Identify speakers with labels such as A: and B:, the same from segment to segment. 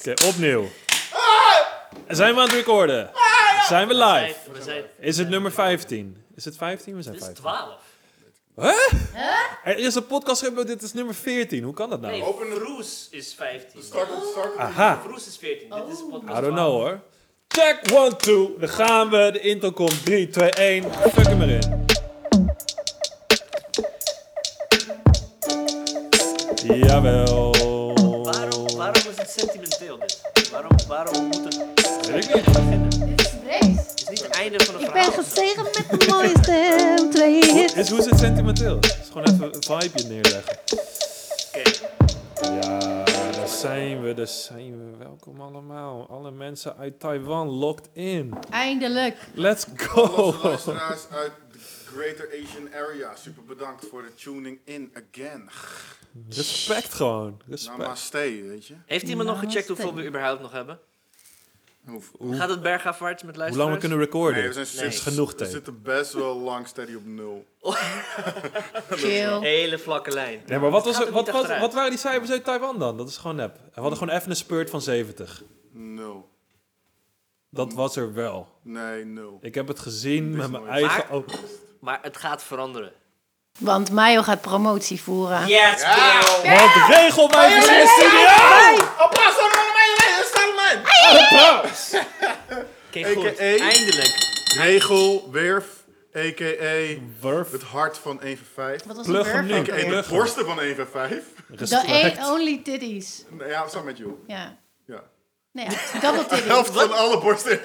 A: Oké, opnieuw. Zijn we aan het recorden? Zijn we live?
B: Vijf, we zijn,
A: Is het nummer 15? Is het 15? We zijn
B: dit is
A: 15.
B: 12.
A: Er is een podcast, hebben we- dit is nummer 14. Hoe kan dat nou?
B: Nee,
C: Open-
B: Roes is 15.
C: Start het, start het.
A: Aha,
B: Roes is 14. Dit is podcast
A: Oh. I don't know hoor. Check, 1, 2. Dan gaan we. De intro komt. 3, 2, 1. Fuck hem erin. Jawel.
B: 12. Waarom, waarom is het sentimenteel dit? Waarom, waarom moet het
A: Weet ik niet.
B: beginnen?
D: Dit is breed.
B: Het is niet het einde van een
D: Ik ben
B: verhaal.
D: gestegen met de mooie stem. Twee hits.
A: Is, hoe is het sentimenteel? Het is gewoon even een vibeje neerleggen.
B: Oké,
A: Ja, daar zijn we, daar zijn we. Welkom allemaal. Alle mensen uit Taiwan locked in.
D: Eindelijk.
A: Let's
C: Alle
A: go.
C: luisteraars uit de Greater Asian Area, super bedankt voor de tuning in again.
A: Respect gewoon.
C: Nou,
A: Respect.
C: Namaste, weet je.
B: Heeft iemand nog gecheckt
D: Namaste.
B: hoeveel we überhaupt nog hebben?
C: Hoeveel?
B: Gaat het bergafwaarts met
A: Hoe
B: luisteraars?
A: lang we kunnen recorden?
C: Nee, we zijn
B: Nee.
C: sinds
A: is genoeg
C: We
A: tijd.
C: zitten best wel lang steady op nul.
D: Chill.
B: Hele vlakke lijn.
A: Nee, maar wat, was,
B: Gaat
A: er-
B: er
A: wat,
B: niet
A: wat,
B: achteruit.
A: wat waren die cijfers uit Taiwan dan? Dat is gewoon nep. We hadden gewoon even een spurt van 70.
C: Nul.
A: Dat was er wel.
C: Nee, nul.
A: Ik heb het gezien met mijn
C: nooit.
A: eigen ogen.
B: Maar het gaat veranderen.
D: Want Mayo gaat promotie voeren.
B: Yes, bro!
A: Want
B: Oh,
A: regelwijs in de studio!
C: Applaus voor mijn Salman!
A: Applaus!
B: Kijk goed,
C: AKA.
B: eindelijk.
C: Regel, Werf, a.k.a.
A: Wurf.
C: het hart van 1 van 5.
D: Wat was
A: Plug
D: het
A: hem nu.
D: werk?
C: A.k.a. de borsten van 1 van 5.
D: The
A: Respect.
D: a- only titties.
C: Nee, Ja, samen met jou.
D: Ja.
C: Ja.
D: Nee, ja, double
C: De
D: titties.
C: helft van alle borsten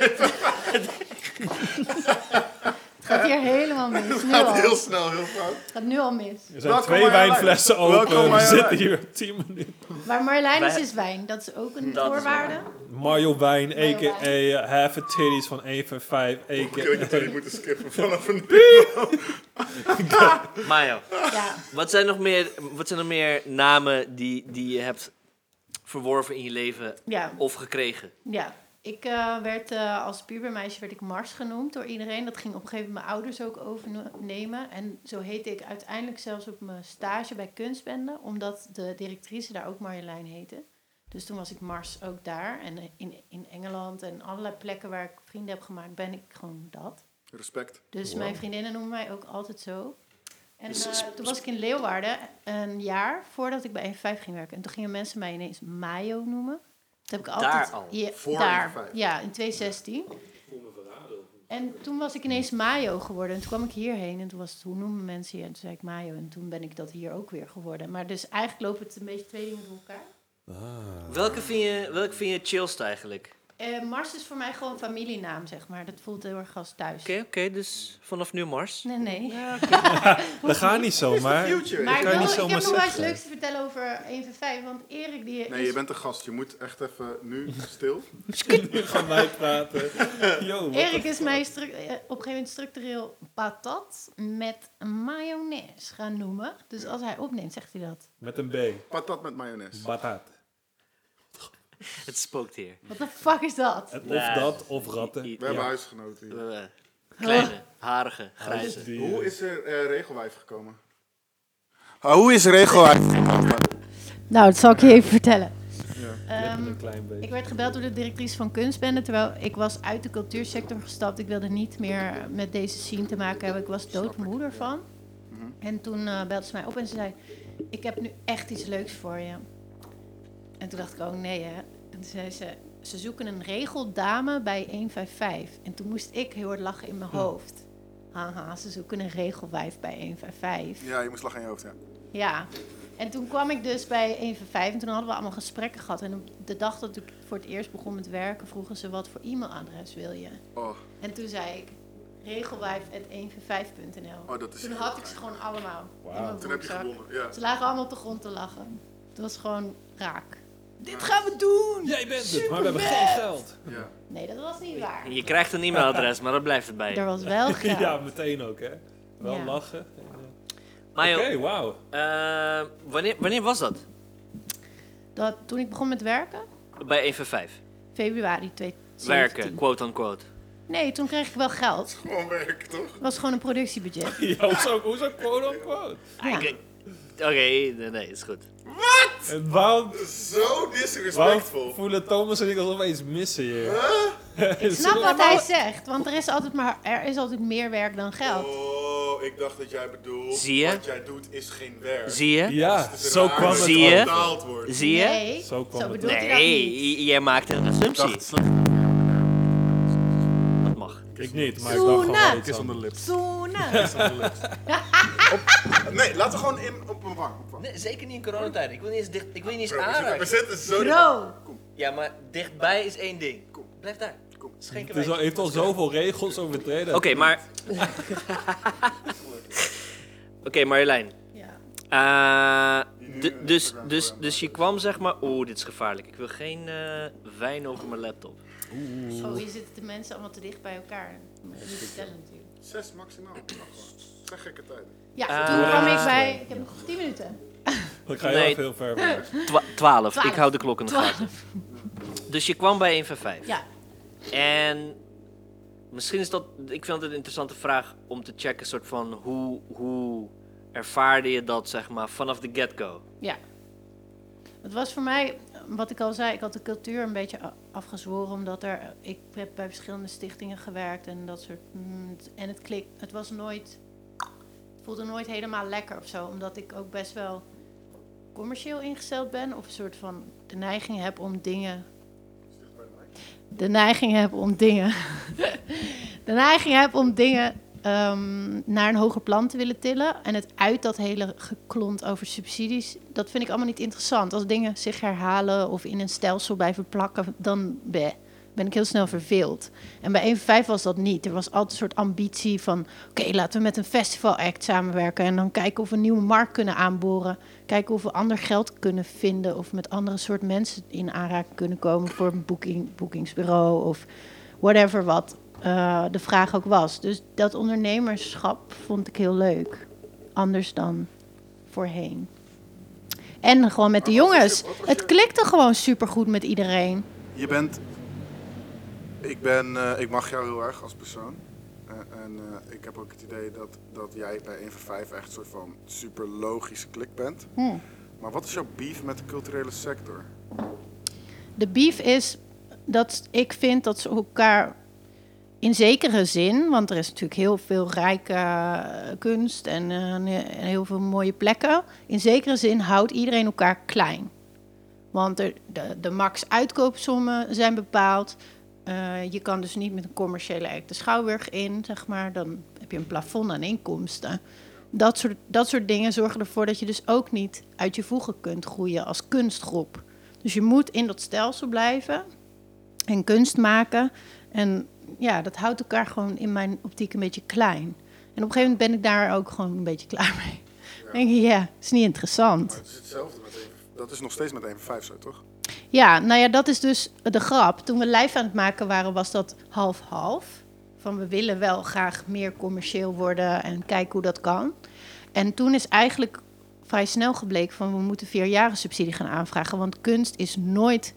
D: Het gaat hier helemaal mis. Nu al.
C: gaat heel
D: Het
C: snel, heel fout.
D: gaat nu al mis.
A: Er zijn
C: Welkom
A: twee
C: bij Jolijnen.
A: wijnflessen
C: Welkom
A: open.
C: bij
A: We zitten
C: Jolijnen.
A: hier 10 minuten.
D: Maar Marlijn is
B: Wij-
D: dus wijn. Dat is ook een
B: Dat is
D: voorwaarde.
A: Mario Wijn,
D: Mario
A: a.k.a. Half a Titties van 1 van 5,
C: Ik weet
A: a.k.a.
C: niet dat jullie moeten skippen vanaf nu.
B: Mayo,
D: Ja.
B: wat zijn nog meer, wat zijn nog meer namen die, die je hebt verworven in je leven
D: Ja.
B: of gekregen?
D: Ja, ik eh, werd eh, als pubermeisje werd ik Mars genoemd door iedereen. Dat ging op een gegeven moment mijn ouders ook overnemen. En zo heette ik uiteindelijk zelfs op mijn stage bij kunstbende, omdat de directrice daar ook Marjolein heette. Dus toen was ik Mars ook daar. En eh, in, in Engeland en allerlei plekken waar ik vrienden heb gemaakt, ben ik gewoon dat.
C: Respect.
D: Dus mijn vriendinnen noemen mij ook altijd zo. En
B: Dus
D: eh,
B: sp-
D: toen was ik in Leeuwarden een jaar voordat ik bij 1-5 ging werken. En toen gingen mensen mij ineens Mayo noemen. Dat heb ik
B: Daar
D: altijd.
B: al? E
D: Ja,
C: Voor
D: daar.
C: 1-5?
D: Ja, in 2016. En toen was ik ineens Mayo geworden. En toen kwam ik hierheen en toen was het, hoe noemen mensen je? En toen zei ik Mayo en toen ben ik dat hier ook weer geworden. Maar dus eigenlijk lopen het een beetje twee dingen door elkaar.
B: Welke vind je, welke vind je het chillst eigenlijk?
D: Eh, Mars is voor mij gewoon familienaam, zeg maar. Dat voelt heel erg als thuis.
B: Oké, oké, dus vanaf nu Mars.
D: Nee, nee.
A: Dat gaat niet zomaar.
C: Future.
D: Maar ik,
A: kan je
D: wil,
A: niet
D: ik heb
A: zomaar
D: nog wel iets
A: zeggen.
D: leuks te vertellen over 1 van 5. Want Erik die
C: Nee,
D: is...
C: je bent de gast. Je moet echt even nu stil.
A: Van mij praten. Yo, wat-
D: Erik is mij stru- eh, op een gegeven moment structureel patat met mayonaise gaan noemen. Dus als hij opneemt, zegt hij dat.
A: Met een B.
C: Patat met mayonaise.
A: Bataat.
B: Het spookt hier.
D: Wat de fuck is dat?
A: En Of
B: Nee.
A: dat, of ratten.
B: I-
C: We hebben
A: Ja.
C: huisgenoten hier.
B: Eh, kleine, harige, grijze.
A: Die,
C: Hoe
A: eh,
C: is er eh, regelwijf gekomen? Ah, hoe is regelwijf gekomen?
D: Nou, dat zal ik je even vertellen.
A: lippen een klein
D: Ik
A: beetje.
D: werd gebeld door de directrice van kunstbende, terwijl ik was uit de cultuursector gestapt. Ik wilde niet meer met deze scene te maken hebben. Ik was doodmoeder van. En toen eh, belde ze mij op en ze zei, ik heb nu echt iets leuks voor je. En toen dacht ik, oh nee hè. En toen zei ze, ze zoeken een regeldame bij 155. En toen moest ik heel hard lachen in mijn hoofd. Haha, ze zoeken een regelwijf bij 155.
C: Ja, je moet slag in je hoofd, ja.
D: Ja. En toen kwam ik dus bij 1 van 5 en toen hadden we allemaal gesprekken gehad. En op de dag dat ik voor het eerst begon met werken, vroegen ze wat voor e-mailadres wil je.
C: Oh,
D: En toen zei ik regelwijf.1van5.nl.
C: oh dat is...
D: Toen had ik ze gewoon allemaal in mijn
C: Toen heb je
D: broekzak.
C: gewonnen, ja.
D: Ze lagen allemaal op de grond te lachen. Het was gewoon raak. Dit gaan we doen!
A: Jij bent het, maar we hebben geen geld.
C: ja.
D: Nee, dat was niet waar.
B: Je krijgt een e-mailadres, maar dat blijft erbij.
D: Er was wel geld.
A: Ja, meteen ook, hè. Wel
D: Ja.
A: lachen.
B: Maar joh,
A: Oké, wauw.
B: eh, wanneer, wanneer was dat?
D: Dat, toen ik begon met werken,
B: Bij 1 van 5.
D: februari 2017.
B: Werken, quote-unquote.
D: Nee, toen kreeg ik wel geld.
A: Oh,
C: Gewoon werk, toch?
D: Het was gewoon een productiebudget.
A: Ja, hoezo, hoezo quote-unquote?
D: Ja.
B: Oké, nee, nee, is goed.
C: Wat?
A: En waarom,
C: Zo
A: waarom
C: disrespectful.
A: voelen Thomas en ik alsof we iets missen hier?
D: Ik snap wat hij zegt, want er is altijd, maar, er is altijd meer werk dan geld.
C: Oh, ik dacht dat jij bedoelt.
B: Zie je?
C: Wat jij doet is geen werk.
B: Zie je?
A: Ja,
C: Het is
A: zo
C: raar
A: kwam
C: dat
A: het.
B: Zie je?
A: ook.
C: betaald wordt.
B: Zie je?
D: Nee,
A: Zo
D: zo,
A: kwam het
D: bedoelt hij dat
B: Nee,
D: niet.
B: j- jij maakt een assumptie. Dat mag.
A: Ik niet, maar ik dacht gewoon
D: Zoenen.
A: wel iets
C: Kiss on the
A: anders.
C: lips.
D: Zoenen.
C: Kiss on the lips. Op- nee, laten we gewoon in, op een wang. Op een wang.
B: Nee, zeker niet in coronatijd. Ik wil niet eens, dicht, ik wil niet eens
C: Bro, we zitten- we
B: aanraken.
C: zitten zo...
D: Bro,
B: Ja, maar dichtbij is één ding. Blijf daar.
C: Kom.
B: Dat is geen
A: Het is al,
B: Oké,
A: heeft al zoveel regels overtreden.
B: maar... Oké, Marjolein.
D: ja.
B: Eh, d- dus, dus, dus je kwam zeg maar... Oeh, dit is gevaarlijk. Ik wil geen eh, wijn over mijn laptop.
D: Zo, hier zitten de mensen allemaal te dicht bij elkaar. Maar Niet stellen natuurlijk.
C: Zes maximaal. Wacht maar. Zeg gekke tijden.
D: Ja,
B: Ah.
D: toen kwam ik bij... Ik heb nog 10 minuten.
A: Dan ga je
B: Nee.
A: ook heel ver. mee.
B: Twa- twaalf.
D: Twaalf.
B: Ik hou de klok in de gaten. Dus je kwam bij 1 van 5.
D: Ja,
B: En misschien is dat, ik vind het een interessante vraag om te checken, soort van hoe, hoe ervaarde je dat, zeg maar, vanaf de get-go?
D: ja. Het was voor mij, wat ik al zei, ik had de cultuur een beetje a- afgezworen. Omdat er, ik heb bij verschillende stichtingen gewerkt en dat soort... mm, het- En het klik, het was nooit... Het voelde nooit helemaal lekker of zo. Omdat ik ook best wel commercieel ingesteld ben. Of een soort van de neiging heb om dingen de neiging heb om dingen. de neiging heb om dingen ehm, naar een hoger plan te willen tillen. En het uit dat hele geklont over subsidies. Dat vind ik allemaal niet interessant. Als dingen zich herhalen of in een stelsel blijven plakken, dan bleh, ben ik heel snel verveeld. En bij 1.5 was dat niet. Er was altijd een soort ambitie van... oké, laten we met een festival-act samenwerken... en dan kijken of we een nieuwe markt kunnen aanboren. Kijken of we ander geld kunnen vinden... of met andere soort mensen in aanraking kunnen komen... voor een boeking, boekingsbureau of whatever wat eh, de vraag ook was. Dus dat ondernemerschap vond ik heel leuk. Anders dan voorheen. En gewoon met de
C: Maar wat was je-
D: jongens.
C: wat was
D: Het
C: je-
D: klikte gewoon supergoed met iedereen.
C: Je bent... Ik ben... eh, ik mag jou heel erg als persoon. Eh, en eh, ik heb ook het idee dat, dat jij bij 1 van 5 echt een soort van super logische klik bent.
D: Hmm.
C: Maar wat is jouw beef met de culturele sector?
D: De beef is dat ik vind dat ze elkaar in zekere zin, want er is natuurlijk heel veel rijke eh, kunst en, eh, en heel veel mooie plekken. In zekere zin houdt iedereen elkaar klein. Want er, de, de max uitkoopsommen zijn bepaald. Eh, je kan dus niet met een commerciële act de schouwburg in, zeg maar. Dan heb je een plafond aan inkomsten. Dat soort, dat soort dingen zorgen ervoor dat je dus ook niet uit je voegen kunt groeien als kunstgroep. Dus je moet in dat stelsel blijven en kunst maken. En ja, dat houdt elkaar gewoon in mijn optiek een beetje klein. En op een gegeven moment ben ik daar ook gewoon een beetje klaar mee. Dan denk je, ja, is niet interessant.
C: Maar het is hetzelfde met 1 van- Dat is nog steeds met 1 van 5 zo, toch?
D: Ja, nou ja, dat is dus de grap. Toen we lijf aan het maken waren, was dat half-half. Van we willen wel graag meer commercieel worden en kijken hoe dat kan. En toen is eigenlijk vrij snel gebleken van we moeten vier jaren subsidie gaan aanvragen. Want kunst is nooit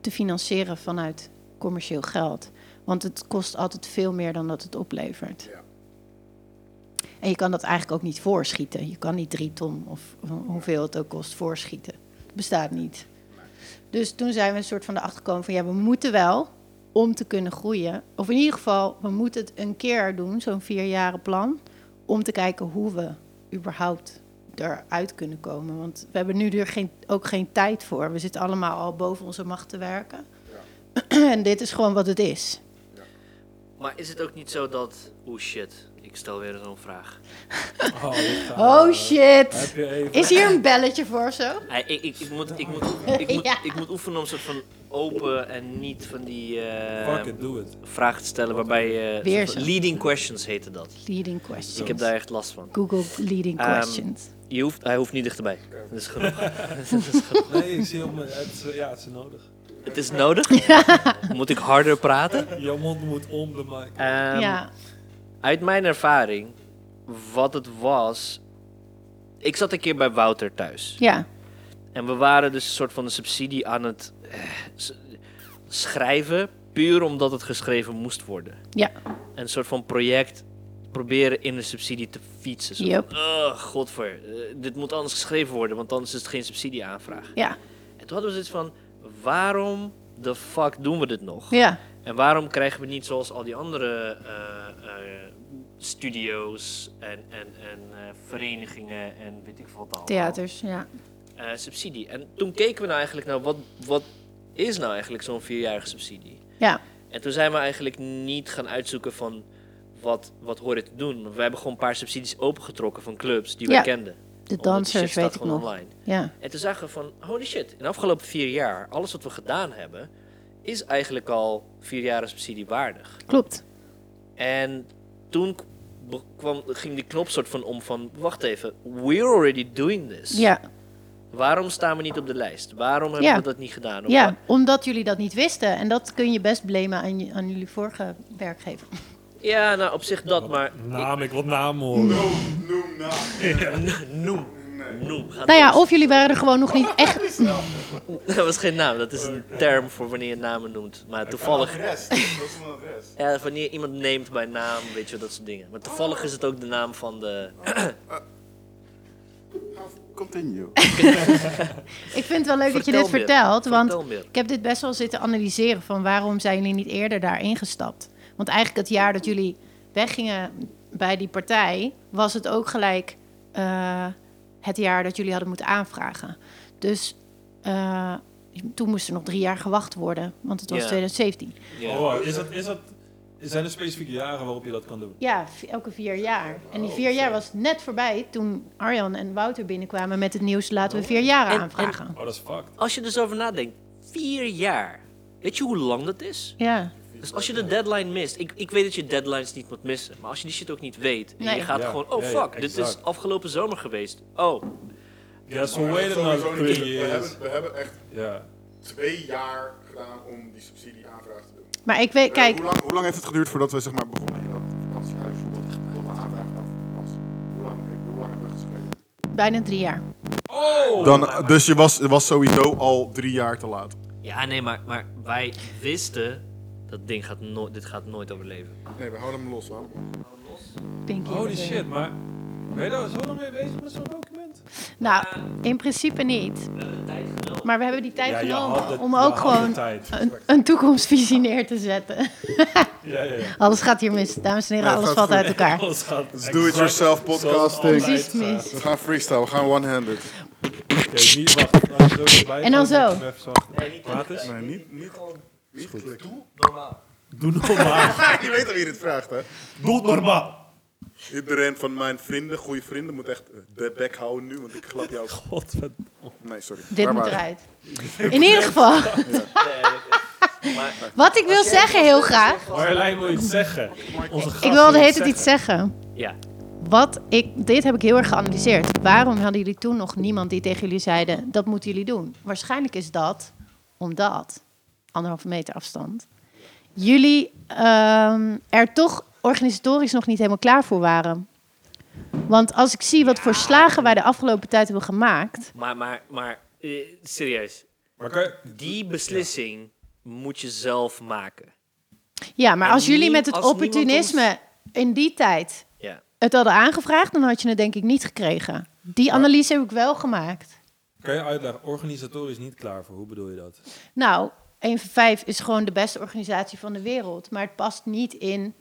D: te financieren vanuit commercieel geld. Want het kost altijd veel meer dan dat het oplevert.
C: Ja.
D: En je kan dat eigenlijk ook niet voorschieten. Je kan niet drie ton of ho- hoeveel het ook kost voorschieten. Het bestaat niet. Dus toen zijn we een soort van erachter gekomen van ja, we moeten wel om te kunnen groeien. Of in ieder geval, we moeten het een keer doen, zo'n vierjaren plan. Om te kijken hoe we überhaupt eruit kunnen komen. Want we hebben nu er geen, ook geen tijd voor. We zitten allemaal al boven onze macht te werken. en dit is gewoon wat het is.
B: Maar is het ook niet zo dat, oh shit, ik stel weer zo'n vraag.
A: Oh, dit
B: Ah,
A: gaat-
D: Oh
A: Heb
D: shit!
A: je even...
D: Is hier een belletje voor of zo?
B: Hey, ik, ik, ik, moet, ik, moet, ik, moet,
D: Ja.
B: ik moet oefenen om soort van open en niet van die eh,
A: Fuck it, doe het.
B: vragen te stellen waarbij je...
D: Weer
B: soort van-
D: zo.
B: leading questions heette dat.
D: Leading questions.
B: Ik heb daar echt last van.
D: Google leading
B: Ehm,
D: questions.
B: Je hoeft, hij hoeft niet dichterbij. Dat is genoeg.
A: Nee, ik zie op mijn... Het is, ja, het is nodig.
B: Het is nodig. Moet ik harder praten?
A: Jouw mond moet om de mic.
B: Ehm,
D: ja,
B: Uit mijn ervaring, wat het was. Ik zat een keer bij Wouter thuis.
D: ja,
B: En we waren dus een soort van een subsidie aan het eh, s- schrijven. Puur omdat het geschreven moest worden.
D: ja,
B: Een soort van project proberen in een subsidie te fietsen. Zo.
D: Yep.
B: Ugh, godver, eh, dit moet anders geschreven worden, want anders is het geen subsidieaanvraag.
D: Ja,
B: En toen hadden we zoiets van, waarom de fuck doen we dit nog?
D: ja,
B: En waarom krijgen we niet zoals al die andere eh, eh, studio's en, en, en eh, verenigingen en weet ik veel wat allemaal.
D: theaters, ja.
B: eh, subsidie. En toen keken we nou eigenlijk naar wat, wat is nou eigenlijk zo'n vierjarige subsidie?
D: Ja.
B: En toen zijn we eigenlijk niet gaan uitzoeken van wat, wat hoor je te doen. We hebben gewoon een paar subsidies opengetrokken van clubs die we
D: Ja,
B: kenden.
D: De
B: Omdat die shit
D: dansers,
B: staat
D: weet ik
B: gewoon
D: nog.
B: Online.
D: Ja,
B: En toen zagen we van, holy shit, in de afgelopen vier jaar, alles wat we gedaan hebben, is eigenlijk al vier jaar subsidie waardig.
D: klopt.
B: En toen k- be- kwam, ging die knop soort van om van, wacht even, we're already doing this.
D: Ja,
B: Waarom staan we niet op de lijst? Waarom hebben
D: Ja.
B: we dat niet gedaan? Of
D: ja,
B: wa-
D: omdat jullie dat niet wisten. En dat kun je best blamen aan, je- aan jullie vorige werkgever.
B: ja, nou op zich dat, maar
A: Naam, ik wil naam horen.
C: Noem, noem naam.
B: noem. Noem. Ga
D: Nou ja,
B: door.
D: of jullie waren er gewoon nog niet echt...
B: Dat was geen naam, dat is een term voor wanneer je namen noemt. Maar toevallig,
C: Adres, dat is een adres.
B: ja, wanneer iemand neemt bij naam, weet je, dat soort dingen. Maar toevallig is het ook de naam van de...
C: Continue.
D: Ik vind het wel leuk dat je
B: Vertel
D: dit
B: meer.
D: vertelt, want
B: Vertel meer.
D: ik heb dit best wel zitten analyseren van waarom zijn jullie niet eerder daarin gestapt? Want eigenlijk het jaar dat jullie weggingen bij die partij, was het ook gelijk eh, het jaar dat jullie hadden moeten aanvragen. Dus eh, toen moest er nog drie jaar gewacht worden, want het was
B: Ja.
D: 2017.
B: Ja.
A: Oh, is dat, is dat, zijn er specifieke jaren waarop je dat kan doen?
D: Ja, v- elke vier jaar. En die vier jaar was net voorbij toen Arjan en Wouter binnenkwamen met het nieuws laten we vier
B: En-
D: jaar
B: en-
D: aanvragen.
A: Oh, dat is fucked.
B: Als je er zo over nadenkt, vier jaar. Weet je hoe lang dat is?
D: Ja,
B: Dus als je de deadline mist, ik, ik weet dat je deadlines niet moet missen, maar als je die shit ook niet weet, en
D: Nee.
B: je gaat
A: Ja,
B: gewoon, oh
A: ja,
B: fuck,
A: ja,
B: dit is
A: exact.
B: afgelopen zomer geweest. Oh,
A: Ja, so
C: Maar
A: wait
C: we hebben
A: another
C: sowieso niet-
A: three
C: we,
A: years.
C: hebben, we hebben echt
A: Ja.
C: twee jaar gedaan om die subsidieaanvraag te doen.
D: maar ik weet,
C: Eh,
D: kijk,
C: hoe, lang, hoe lang heeft het geduurd voordat we zeg maar, begonnen in dat vakantiehuis? Voordat de aanvraag af was? Hoe lang, hoe lang hebben we geschreven?
D: bijna drie jaar.
C: Dan, dus je was, was sowieso al drie jaar te laat.
B: ja nee, maar, maar wij wisten, dat ding gaat nooit, dit gaat nooit overleven.
C: Nee, we houden hem los man.
D: Pinky in
A: Holy
D: the
A: shit, maar ben je daar zo lang mee bezig met zo'n document?
D: Nou, in principe niet. Maar we hebben die tijd
A: Ja, je
D: genomen
A: had de-
D: om
A: je
D: ook
A: had de
D: gewoon
A: tijd.
D: een, een toekomstvisie neer te zetten.
A: Ja, ja, ja.
D: Alles gaat hier mis, dames en heren.
C: Ja,
D: alles
C: gaat
D: valt
C: goed.
D: uit elkaar.
A: Alles gaat
C: Dus
A: exact
C: do-it-yourself
A: zoals
C: podcasting.
A: altijd
D: Precies
A: gaat.
D: mis.
C: We gaan freestyle, we gaan one-handed.
A: Oké, niet wachten. Nou, zo erbij
D: En dan
A: gaan,
D: zo.
A: dat je hem even zo- Laat eens.
C: Nee, niet, niet gewoon. Niet klikken. Ah,
A: Doe normaal.
C: Je weet al wie dit vraagt, hè?
A: Doe normaal.
C: Iedereen van mijn vrienden, goede vrienden, moet echt eh, de bek houden nu, want ik glap jou.
A: Godverdomme.
C: Nee, sorry.
D: Dit
C: Waar
D: moet
C: waren we?
D: eruit. In ieder geval. Wat ik wil zeggen heel graag.
A: Marjolein wil iets zeggen. Onze gast
D: Ik wil de hele
A: iets
D: tijd iets zeggen.
B: Ja,
D: Wat ik, dit heb ik heel erg geanalyseerd. Waarom hadden jullie toen nog niemand die tegen jullie zeiden: dat moeten jullie doen? Waarschijnlijk is dat omdat, anderhalve meter afstand, jullie ehm, er toch organisatorisch nog niet helemaal klaar voor waren. Want als ik zie wat voor slagen wij de afgelopen tijd hebben gemaakt.
B: maar, maar, maar eh, serieus,
A: Maar kan je-
B: die beslissing moet je zelf maken.
D: Ja, maar
B: En
D: als jullie
B: nie-
D: met het
B: als niemand
D: opportunisme in die tijd
B: Ja.
D: het hadden aangevraagd, dan had je het denk ik niet gekregen. Die analyse heb ik wel gemaakt.
A: kan je uitleggen, organisatorisch niet klaar voor, hoe bedoel je dat?
D: Nou, 1 van 5 is gewoon de beste organisatie van de wereld. Maar het past niet in.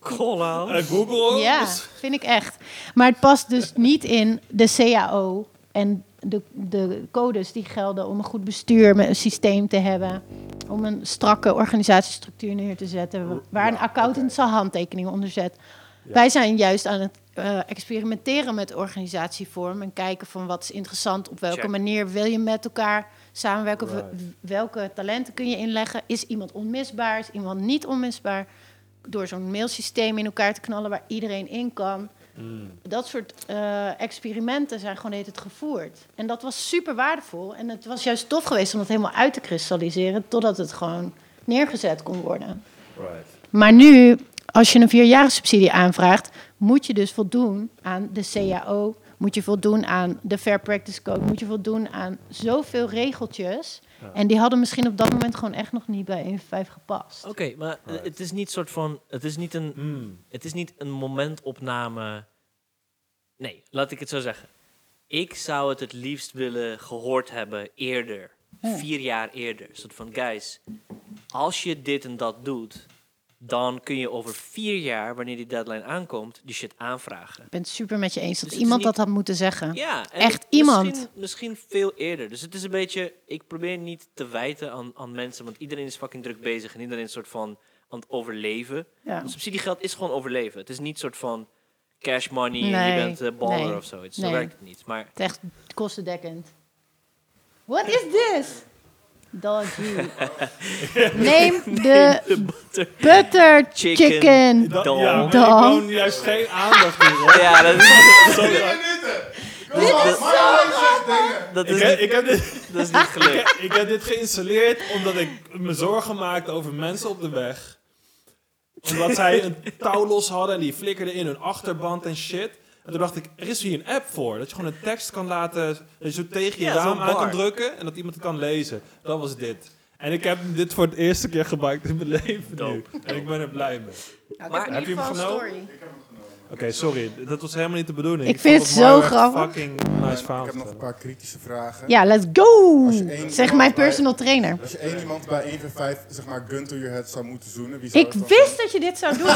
A: Google?
D: Ja, vind ik echt. Maar het past dus niet in de CAO en de, de codes die gelden om een goed bestuur, met een systeem te hebben. Om een strakke organisatiestructuur neer te zetten. Waar een accountant zijn handtekening onder zet. Wij zijn juist aan het eh, experimenteren met organisatievorm. En kijken van wat is interessant. Op welke
B: Check.
D: manier wil je met elkaar samenwerken.
A: Right.
D: w- Welke talenten kun je inleggen? Is iemand onmisbaar? Is iemand niet onmisbaar? Door zo'n mailsysteem in elkaar te knallen waar iedereen in kan. Dat soort eh, experimenten zijn gewoon het gevoerd. En dat was super waardevol. En het was juist tof geweest om het helemaal uit te kristalliseren. Totdat het gewoon neergezet kon worden.
A: Right.
D: Maar nu, als je een vierjarige subsidie aanvraagt, moet je dus voldoen aan de CAO, moet je voldoen aan de Fair Practice Code, moet je voldoen aan zoveel regeltjes
A: Ja.
D: En die hadden misschien op dat moment gewoon echt nog niet bij 1 voor 5 gepast.
B: Oké, maar eh,
A: Alright.
B: het is niet soort van. Het is niet een.
A: Mm.
B: Het is niet een momentopname. Nee, laat ik het zo zeggen. Ik zou het het liefst willen gehoord hebben eerder. Vier jaar eerder. Een soort van, guys, als je dit en dat doet, dan kun je over vier jaar, wanneer die deadline aankomt, die shit aanvragen.
D: Ik ben het super met je eens
B: Dus
D: dat
B: het is
D: iemand
B: niet-
D: dat had moeten zeggen.
B: Ja, en
D: Echt
B: misschien-
D: iemand.
B: Misschien veel eerder. Dus het is een beetje. Ik probeer niet te wijten aan, aan mensen, want iedereen is fucking druk bezig en iedereen is soort van aan het overleven.
D: Ja.
B: Want subsidiegeld is gewoon overleven. Het is niet soort van cash money en
D: Nee,
B: je bent eh, baller
D: nee,
B: of zoiets. Zo
D: nee.
B: werkt het niet. Maar
D: Het is echt kostendekkend. What is this? Doggy. Neem de butter
B: Chicken. Nou,
D: chicken.
A: Dat-
B: Dan.
A: Ja, maar ik
D: Dan.
A: woon juist geen aandacht in. hoor.
B: ja, dat is,
A: Sorry.
C: Dit is zo dingen.
B: dat
A: Ik
B: is,
A: heb,
B: niet,
A: ik, heb dit,
B: dat is niet gelukt.
A: ik heb dit geïnstalleerd omdat ik me zorgen maakte over mensen op de weg. Omdat zij een touw los hadden en die flikkerden in hun achterband en shit. En toen dacht ik, er is hier een app voor. Dat je gewoon een tekst kan laten, dat je zo tegen je
B: Ja,
A: raam
B: zo'n
A: aan kan
B: bar.
A: drukken en dat iemand het kan lezen. Dat was dit. En ik heb dit voor het eerste keer gebruikt in mijn leven nu.
B: Dope.
A: En ik ben er blij mee.
B: Maar-
A: heb je hem genomen? Oké, sorry. Dat was helemaal niet de bedoeling.
D: Ik vind
A: vond
D: het zo
A: maar echt
D: grappig.
A: fucking nice verhaal.
C: Ik heb nog
A: te
C: een paar kritische vragen.
D: Ja, let's go!
C: Als je één-
D: Zegt mijn personal trainer.
C: Als je één iemand bij 1 voor 5, zeg maar, gun to your head zou moeten zoenen, wie zou
D: Ik
C: het dan
D: wist dat je dit zou doen.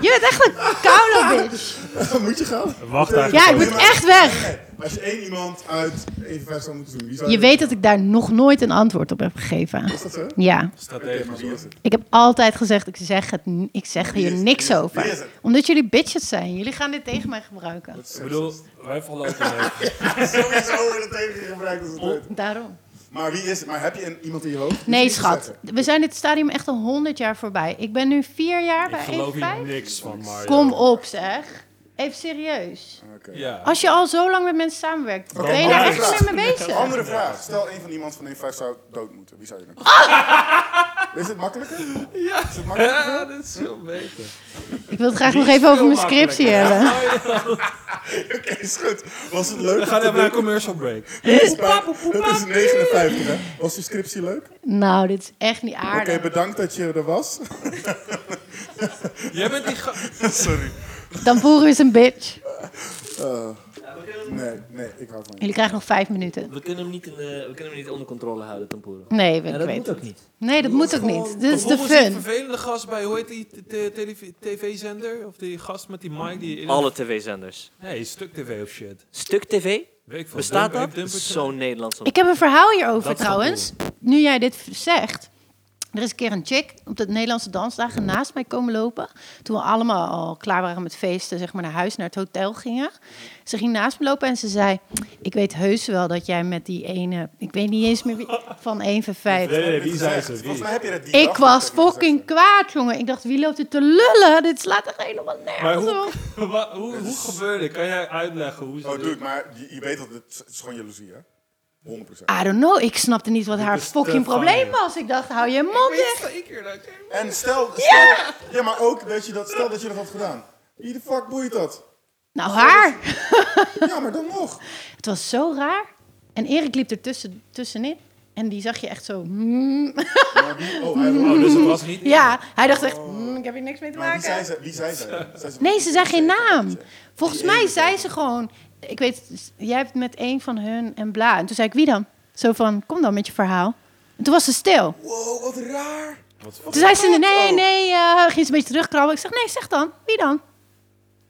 D: Je bent echt een koude bitch.
C: zijn? Moet je gaan?
A: vertellen. Wacht daar.
D: Ja, ik moet echt weg.
C: Nee, als je één iemand uit 1 voor 5 zou moeten zoenen, wie zou
D: Je
C: het-
D: weet dat ik daar nog nooit een antwoord op heb gegeven.
C: Is dat zo? Oké,
D: Ja,
C: maar wie is het?
D: ik heb altijd gezegd, ik zeg, het, n- ik zeg
C: Wie
D: hier
C: is-
D: niks
C: wie is- wie is
D: over.
C: het?
D: Omdat jullie bitches zijn. Jullie gaan dit tegen mij gebruiken.
C: Dat is
A: Ik bedoel, wij verlopen mee.
C: sowieso weer het tegen je gebruikt als het weet.
D: Daarom.
C: Maar wie is het? Maar heb je een, iemand in je hoofd?
D: Nee,
C: Moet je iets
D: schat.
C: zeggen?
D: We zijn dit stadium echt al 100 jaar voorbij. Ik ben nu vier jaar
A: Ik
D: bij
A: geloof hier
D: 1,5.
A: niks van, Mario.
D: Kom op, zeg. Even serieus.
C: Oké.
A: Ja.
D: Als je al zo lang met mensen samenwerkt, ben je
A: maar-
D: daar echt mee mee bezig?
C: Andere vraag. Stel een van iemand van 1 5 zou dood moeten. Wie zou je dan
D: Ah!
C: Is het makkelijker? Ja. Is het makkelijker?
A: Ja, dit Ah, is veel beter.
D: Ik wil het graag nog
A: Die is
D: even over
A: veel
D: mijn scriptie
A: makkelijker.
D: hebben.
C: Oké, is goed. Was het leuk?
A: We gaan even naar een commercial break.
C: Dat is 59, hè? Was die scriptie leuk? Oké,
D: Nou, dit is echt niet aardig.
C: bedankt dat je er was.
A: Jij bent die ga-
C: Sorry.
D: Tamboer is een bitch.
C: Eh, nee, nee, ik hou van je.
D: Jullie krijgen nog vijf minuten.
B: We kunnen hem niet, in, eh, we kunnen hem niet onder controle houden, Tampuro.
D: Nee, ik
B: En dat
D: weet
B: moet
D: het.
B: ook niet.
D: Nee, dat moet ook niet. Dit is de
A: Vervolgens die
D: fun.
A: vervelende gast bij, hoe heet die t- t- telev- tv-zender? Of die gast met die mic die...
B: Alle tv-zenders.
A: Nee, stuk tv of shit.
B: Stuk TV?
A: Weet ik veel.
B: Bestaat
A: Dump-
B: dat?
A: Dumpertje?
B: Zo'n Nederlands.
D: Ik heb een verhaal hierover
A: Dat is
D: trouwens. Nu jij dit v- zegt. Er is een keer een chick op de Nederlandse dansdagen naast mij komen lopen. Toen we allemaal al klaar waren met feesten, zeg maar naar huis, naar het hotel gingen. Ze ging naast me lopen en ze zei... Ik weet heus wel dat jij met die ene... Ik weet niet eens meer wie... Van 1 van 5.
A: Nee, nee, nee, wie zei ze?
C: Volgens
A: Wie?
C: mij heb je dat die dag
D: Ik was
C: tegen me
D: fucking
C: gezegd.
D: kwaad, jongen. Ik dacht, wie loopt er te lullen? Dit slaat echt helemaal
A: Maar
D: nergens
A: hoe,
D: op.
A: wa- hoe, hoe gebeurde dit? Kan jij uitleggen hoe ze
C: Oh,
A: dit-
C: doe ik, maar je, je weet dat het, het is gewoon jaloezie, hè? 100%.
D: I don't know. Ik snapte niet wat haar
A: is te
D: fucking probleem
A: funny.
D: was. Ik dacht, hou je mond
A: Ik
D: dicht.
A: weet zeker dat jij-
C: En stel, stel Ah. ja! maar ook dat je dat, stel dat je dat had gedaan. Wie de fuck boeit dat?
D: Nou, haar.
C: Ja, maar dan nog.
D: Het was zo raar. En Erik liep er tussen, tussenin. En die zag je echt zo... mm.
C: Maar wie, oh, hij,
A: Oh, dus het was niet...
D: Ja, hij dacht echt, mm, ik heb hier niks mee te
C: maar wie zei
D: maken.
C: ze? Wie zei ze? Zei ze
D: Nee, ze zei geen naam. Volgens mij zei ze gewoon... Ik weet, jij hebt met één van hun en bla. En toen zei ik, wie dan? Zo van, kom dan met je verhaal. En toen was ze stil.
C: Wow, wat raar.
D: Toen zei ze, nee, nee, eh, ging ze een beetje terugkrabben. Ik zeg, nee, zeg dan. Wie dan?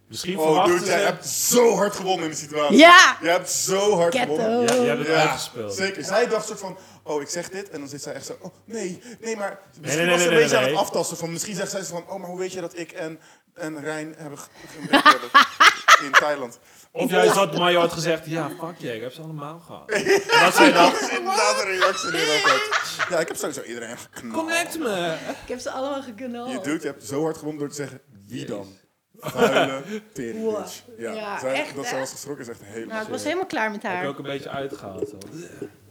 A: Misschien
C: Oh,
A: verwachtte
C: dude, jij
A: ze-
C: hebt zo hard gewonnen in de situatie.
D: Ja!
C: Je hebt zo hard gewonnen.
D: Ghetto.
A: Ja, jij hebt het
C: Ja,
A: uitgespeeld.
C: zeker. Zij dacht soort van, oh, ik zeg dit. En dan zit zij echt zo, oh, nee, nee, maar...
A: nee, nee,
C: Misschien was ze
A: nee,
C: een beetje
A: nee,
C: aan
A: nee.
C: het aftasten. Van, misschien zegt zij zo van, oh, maar hoe weet je dat ik en, en Rijn hebben ge- een beetje hebben in Thailand?
A: Of jij zat, maar je had gezegd, ja, fuck je, ik heb ze allemaal gehad. En dat zei
C: Dat
A: dan,
C: is inderdaad een reactie die erop had. Ja, ik heb sowieso iedereen geknald.
A: connect me.
D: Ik heb ze allemaal geknald.
C: Je dude, je hebt zo hard gewonnen door te zeggen, wie dan? Vuile tering,
D: Wow.
C: bitch. Ja,
D: Ja,
C: zij-
D: echt,
C: dat
D: hè?
C: zij was geschrokken is echt helemaal...
D: Nou, ik was helemaal klaar met
A: Heb
D: haar.
A: je
D: Oké,
A: ook een beetje uitgehaald.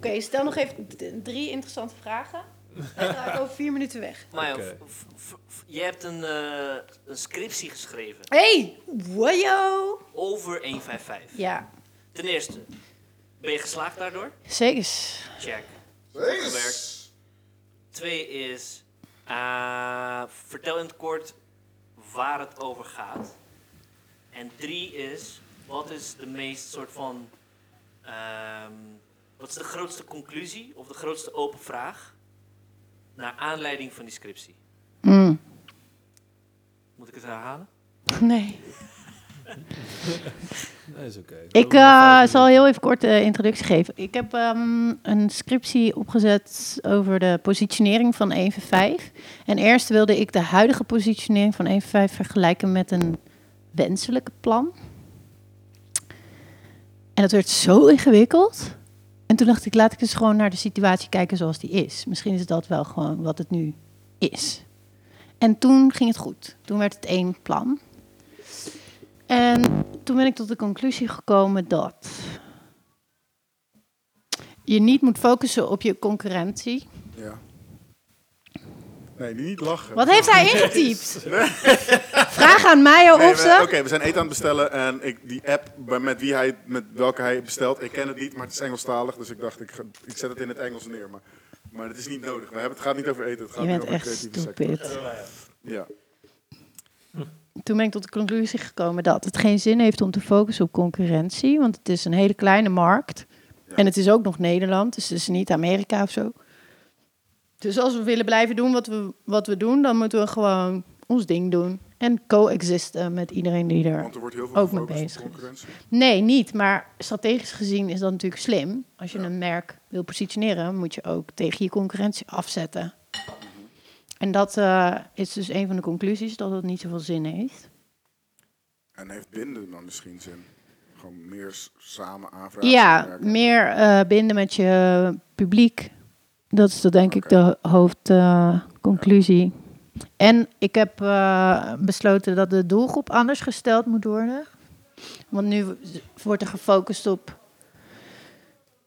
A: hoor.
D: stel nog even d- drie interessante vragen. En dan ga ik over vier minuten weg.
B: Maar
A: Oké.
B: je hebt een, eh, een scriptie geschreven
D: Hey, wajo!
B: over 155.
D: Ja,
B: Ten eerste, ben je geslaagd daardoor?
D: zeker.
B: Check. Opgewerkt. Twee is, eh, vertel in het kort waar het over gaat. En drie is, wat is de meest soort van, ehm, wat is de grootste conclusie of de grootste open vraag naar aanleiding van die scriptie?
D: Mm.
B: Moet ik het herhalen?
D: Nee.
A: Dat is oké.
D: Ik eh, zal heel even kort eh introductie geven. Ik heb ehm, een scriptie opgezet over de positionering van 1 voor 5. En eerst wilde ik de huidige positionering van 1 voor 5 vergelijken met een wenselijke plan. En dat werd zo ingewikkeld. En toen dacht ik, laat ik eens gewoon naar de situatie kijken zoals die is. Misschien is dat wel gewoon wat het nu is. En toen ging het goed. Toen werd het één plan. En toen ben ik tot de conclusie gekomen dat je niet moet focussen op je concurrentie.
C: Ja. Nee, niet lachen.
D: Wat heeft hij ingetypt? Vraag aan Meijer
C: Nee,
D: of
C: we-
D: ze.
C: Oké, we zijn eten aan het bestellen en ik, die app bij- met, wie hij, met welke hij bestelt, ik ken het niet, maar het is Engelstalig, dus ik dacht, ik, ga- ik zet het in het Engels neer. Maar, maar het is niet nodig. We hebben, het gaat niet over eten, het gaat
D: Je
C: niet
D: bent
C: over de
D: echt
C: creatieve sector.
D: stupid.
C: Ja.
D: Toen ben ik tot de conclusie gekomen dat het geen zin heeft om te focussen op concurrentie, want het is een hele kleine markt.
C: Ja.
D: En het is ook nog Nederland, dus het is niet Amerika of zo. Dus als we willen blijven doen wat we, wat we doen, dan moeten we gewoon ons ding doen. En coexisten met iedereen die er
C: Want er wordt heel veel
D: Ook mee
C: gefocust
D: bezig
C: op
D: is.
C: concurrentie.
D: Nee, niet. Maar strategisch gezien is dat natuurlijk slim. Als je een merk wil positioneren, moet je ook tegen je concurrentie afzetten. En dat eh, is dus een van de conclusies, dat het niet zoveel zin heeft.
C: En heeft binden dan misschien zin? Gewoon meer s- samen aanvragen.
D: Ja,
C: werken.
D: meer eh, binden met je publiek. Dat is dat denk ik
C: Oké.
D: de hoofdconclusie. en ik heb eh, besloten dat de doelgroep anders gesteld moet worden. Want nu w- wordt er gefocust op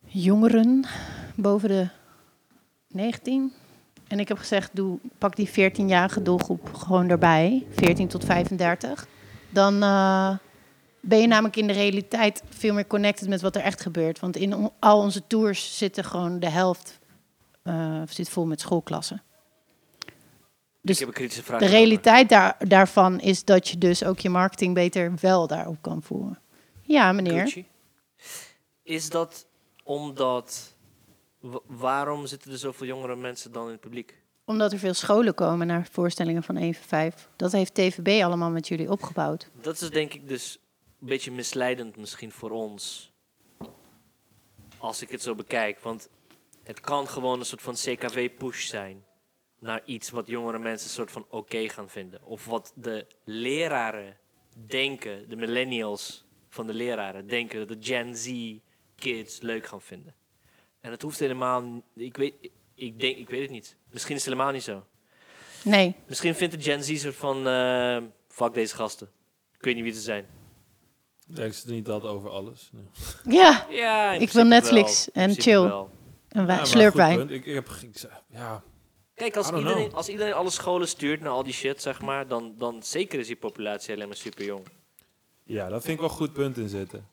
D: jongeren boven de 19. En ik heb gezegd, doe, pak die 14-jarige doelgroep gewoon erbij. 14 tot 35. Dan... eh, ben je namelijk in de realiteit veel meer connected met wat er echt gebeurt. Want in on- al onze tours zitten gewoon de helft eh, zit vol met schoolklassen.
B: ik
D: Dus
B: heb een kritische vraag.
D: de
B: daarover.
D: realiteit daar, daarvan is dat je dus ook je marketing beter wel daarop kan voeren. Ja, meneer.
B: Gucci. Is dat omdat. wa- waarom zitten er zoveel jongere mensen dan in het publiek?
D: Omdat er veel scholen komen naar voorstellingen van 1 voor 5. Dat heeft TVB allemaal met jullie opgebouwd.
B: Dat is denk ik dus een beetje misleidend misschien voor ons. Als ik het zo bekijk. Want het kan gewoon een soort van CKW-push zijn. Naar iets wat jongere mensen een soort van oké gaan vinden. Of wat de leraren denken, de millennials van de leraren denken dat de Gen Z-kids leuk gaan vinden. En het hoeft helemaal. n- Ik weet, ik, denk, ik weet het niet. Misschien is het helemaal niet zo.
D: Nee,
B: Misschien vindt de Gen Z soort van... eh, fuck deze gasten. Ik weet niet wie ze zijn.
A: Denk ze niet dat over alles? Nee.
D: ja,
B: Ja, in
D: Ik
B: principe
D: wil Netflix
B: wel. In
D: en
B: principe
D: chill.
B: wel.
D: een
A: Ja,
D: wij-
A: maar
D: slurpwijn.
A: goed punt. Ik, ik heb... Ik, zei- ja,
B: Kijk, als
A: I don't
B: iedereen,
A: know.
B: als iedereen alle scholen stuurt naar al die shit, zeg maar... dan, dan zeker is die populatie alleen maar super jong.
A: ja, dat vind ik wel een goed punt in zitten.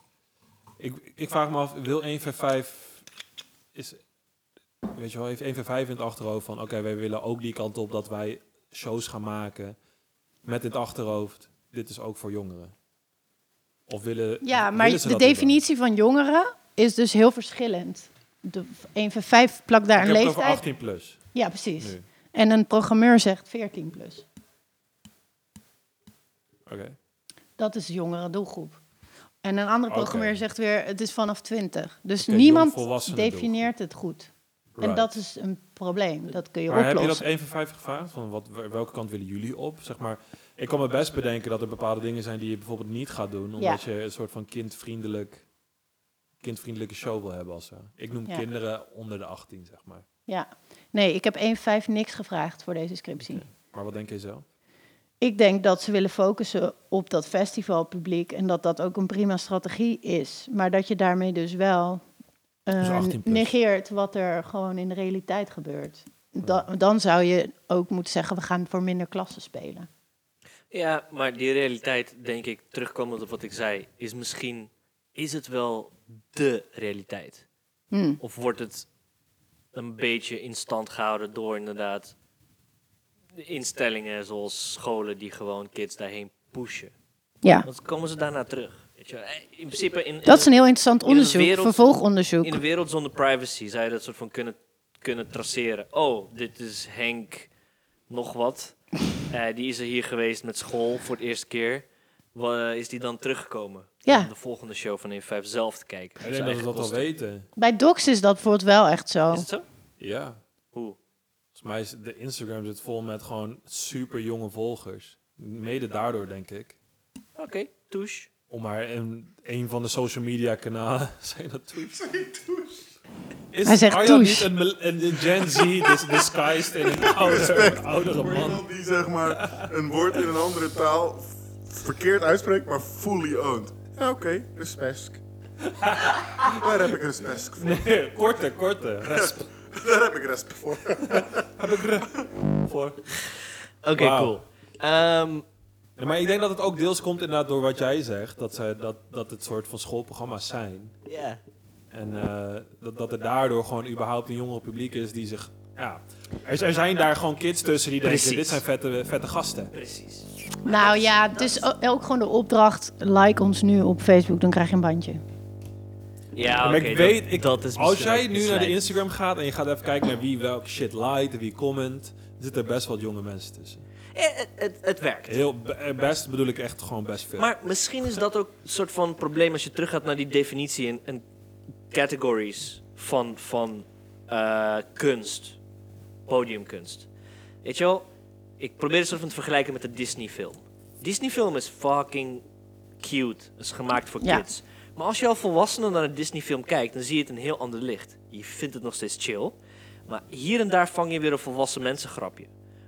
A: Ik, ik vraag me af, wil 1 voor 5... Is, weet je wel, heeft 1 voor 5 in het achterhoofd van... Oké, wij willen ook die kant op dat wij shows gaan maken... met in het achterhoofd, dit is ook voor jongeren. Of willen
D: Ja, maar
A: willen ze
D: de
A: dat niet dan?
D: definitie van jongeren is dus heel verschillend. De 1 van 5 plakt daar
A: Ik
D: een
A: heb het
D: leeftijd.
A: over 18 plus
D: Ja, precies.
A: nu.
D: En een programmeur zegt 14 plus.
A: Oké.
D: Dat is de jongere doelgroep. En een andere
A: Oké.
D: programmeur zegt weer, het is vanaf 20. Dus
A: Oké,
D: niemand
A: jongvolwassenen
D: definieert het goed. En
A: Right.
D: dat is een probleem. Dat kun je
A: Maar heb je dat
D: oplossen.
A: 1 van 5 gevraagd? Van wat, wel- welke kant willen jullie op? Zeg maar, ik kan me best bedenken dat er bepaalde dingen zijn die je bijvoorbeeld niet gaat doen. Omdat je een soort van kindvriendelijk, kindvriendelijke show wil hebben. Als zo. Ik noem
D: Ja.
A: kinderen onder de 18, zeg maar.
D: Ja. Nee, ik heb 1 5 niks gevraagd voor deze scriptie.
A: Maar wat denk je zelf?
D: Ik denk dat ze willen focussen op dat festivalpubliek en dat dat ook een prima strategie is. Maar dat je daarmee dus wel eh,
A: Dus 18 plus.
D: negeert wat er gewoon in de realiteit gebeurt. Da- dan zou je ook moeten zeggen, we gaan voor minder klassen spelen.
B: Ja, maar die realiteit, denk ik, terugkomend op wat ik zei... is misschien... is het wel dé realiteit?
D: Hm.
B: Of wordt het een beetje in stand gehouden door inderdaad de instellingen zoals scholen die gewoon kids daarheen pushen.
D: Ja,
B: Want komen ze daarna terug? Weet je, wel. Eh, in principe in, in,
D: dat is een heel interessant
B: in de
D: onderzoek,
B: wereld-
D: vervolgonderzoek.
B: in een wereld zonder privacy zou je dat soort van kunnen, kunnen traceren. Oh, dit is Henk nog wat. Eh, die is er hier geweest met school voor het eerste keer. Wa- is die dan teruggekomen?
D: Ja.
B: Om de volgende show van in 5 zelf te kijken.
A: Ik denk dat we
B: Zijn eigen
A: dat al
B: kosten.
A: weten.
D: Bij Docs is dat bijvoorbeeld wel echt zo.
B: Is het zo?
A: Ja.
B: Hoe?
A: Volgens mij is de Instagram zit vol met gewoon super jonge volgers. Mede daardoor, denk ik.
B: Oké, touche.
A: Om maar in een van de social media kanalen. Zijn dat Twitch? Is
D: Hij zegt
A: Arjan
D: Toes.
A: niet een, mil- een, een Gen Z dis- disguised in een oudere, een oudere
C: Voor
A: man?
C: iemand die zeg maar een woord in een andere taal f- verkeerd uitspreekt, maar fully owned. Ja, oké, respect. Daar heb ik respect voor.
A: Nee, korte, korte. Resp
C: Daar heb ik respect voor.
A: voor.
B: Oké,
A: Wauw.
B: cool. Ehm,
A: Ja, maar ik denk dat het ook deels komt inderdaad door wat jij zegt. Dat, ze, dat, dat het soort van schoolprogramma's zijn.
B: ja.
A: En eh, dat, dat er daardoor gewoon überhaupt een jonger publiek is die zich... Ja, er, er zijn daar gewoon kids tussen die denken,
B: Precies.
A: dit zijn vette, vette gasten.
B: Precies.
D: Nou ja, het is o- ook gewoon de opdracht, like ons nu op Facebook, dan krijg je een bandje.
B: Ja,
A: maar
B: oké,
A: ik
B: dat-
A: weet, ik,
B: dat is
A: als
B: misschien
A: jij
B: ook
A: nu naar de
B: misleidend.
A: Instagram gaat en je gaat even kijken naar wie welke shit liked en wie comment, zitten er best wat jonge mensen tussen.
B: Eh, het, het, het werkt.
A: Heel be- eh, best bedoel ik echt gewoon best veel.
B: Maar misschien is dat ook een soort van probleem als je teruggaat naar die definitie en, en categories van, van eh, kunst, podiumkunst. Weet je wel, ik probeer het soort van te vergelijken met de Disney-film. Disney-film is fucking cute, is gemaakt voor
D: Ja.
B: kids. Maar als je al volwassenen naar een Disney-film kijkt, dan zie je het in een heel ander licht. Je vindt het nog steeds chill, maar hier en daar vang je weer een volwassen mensengrapje.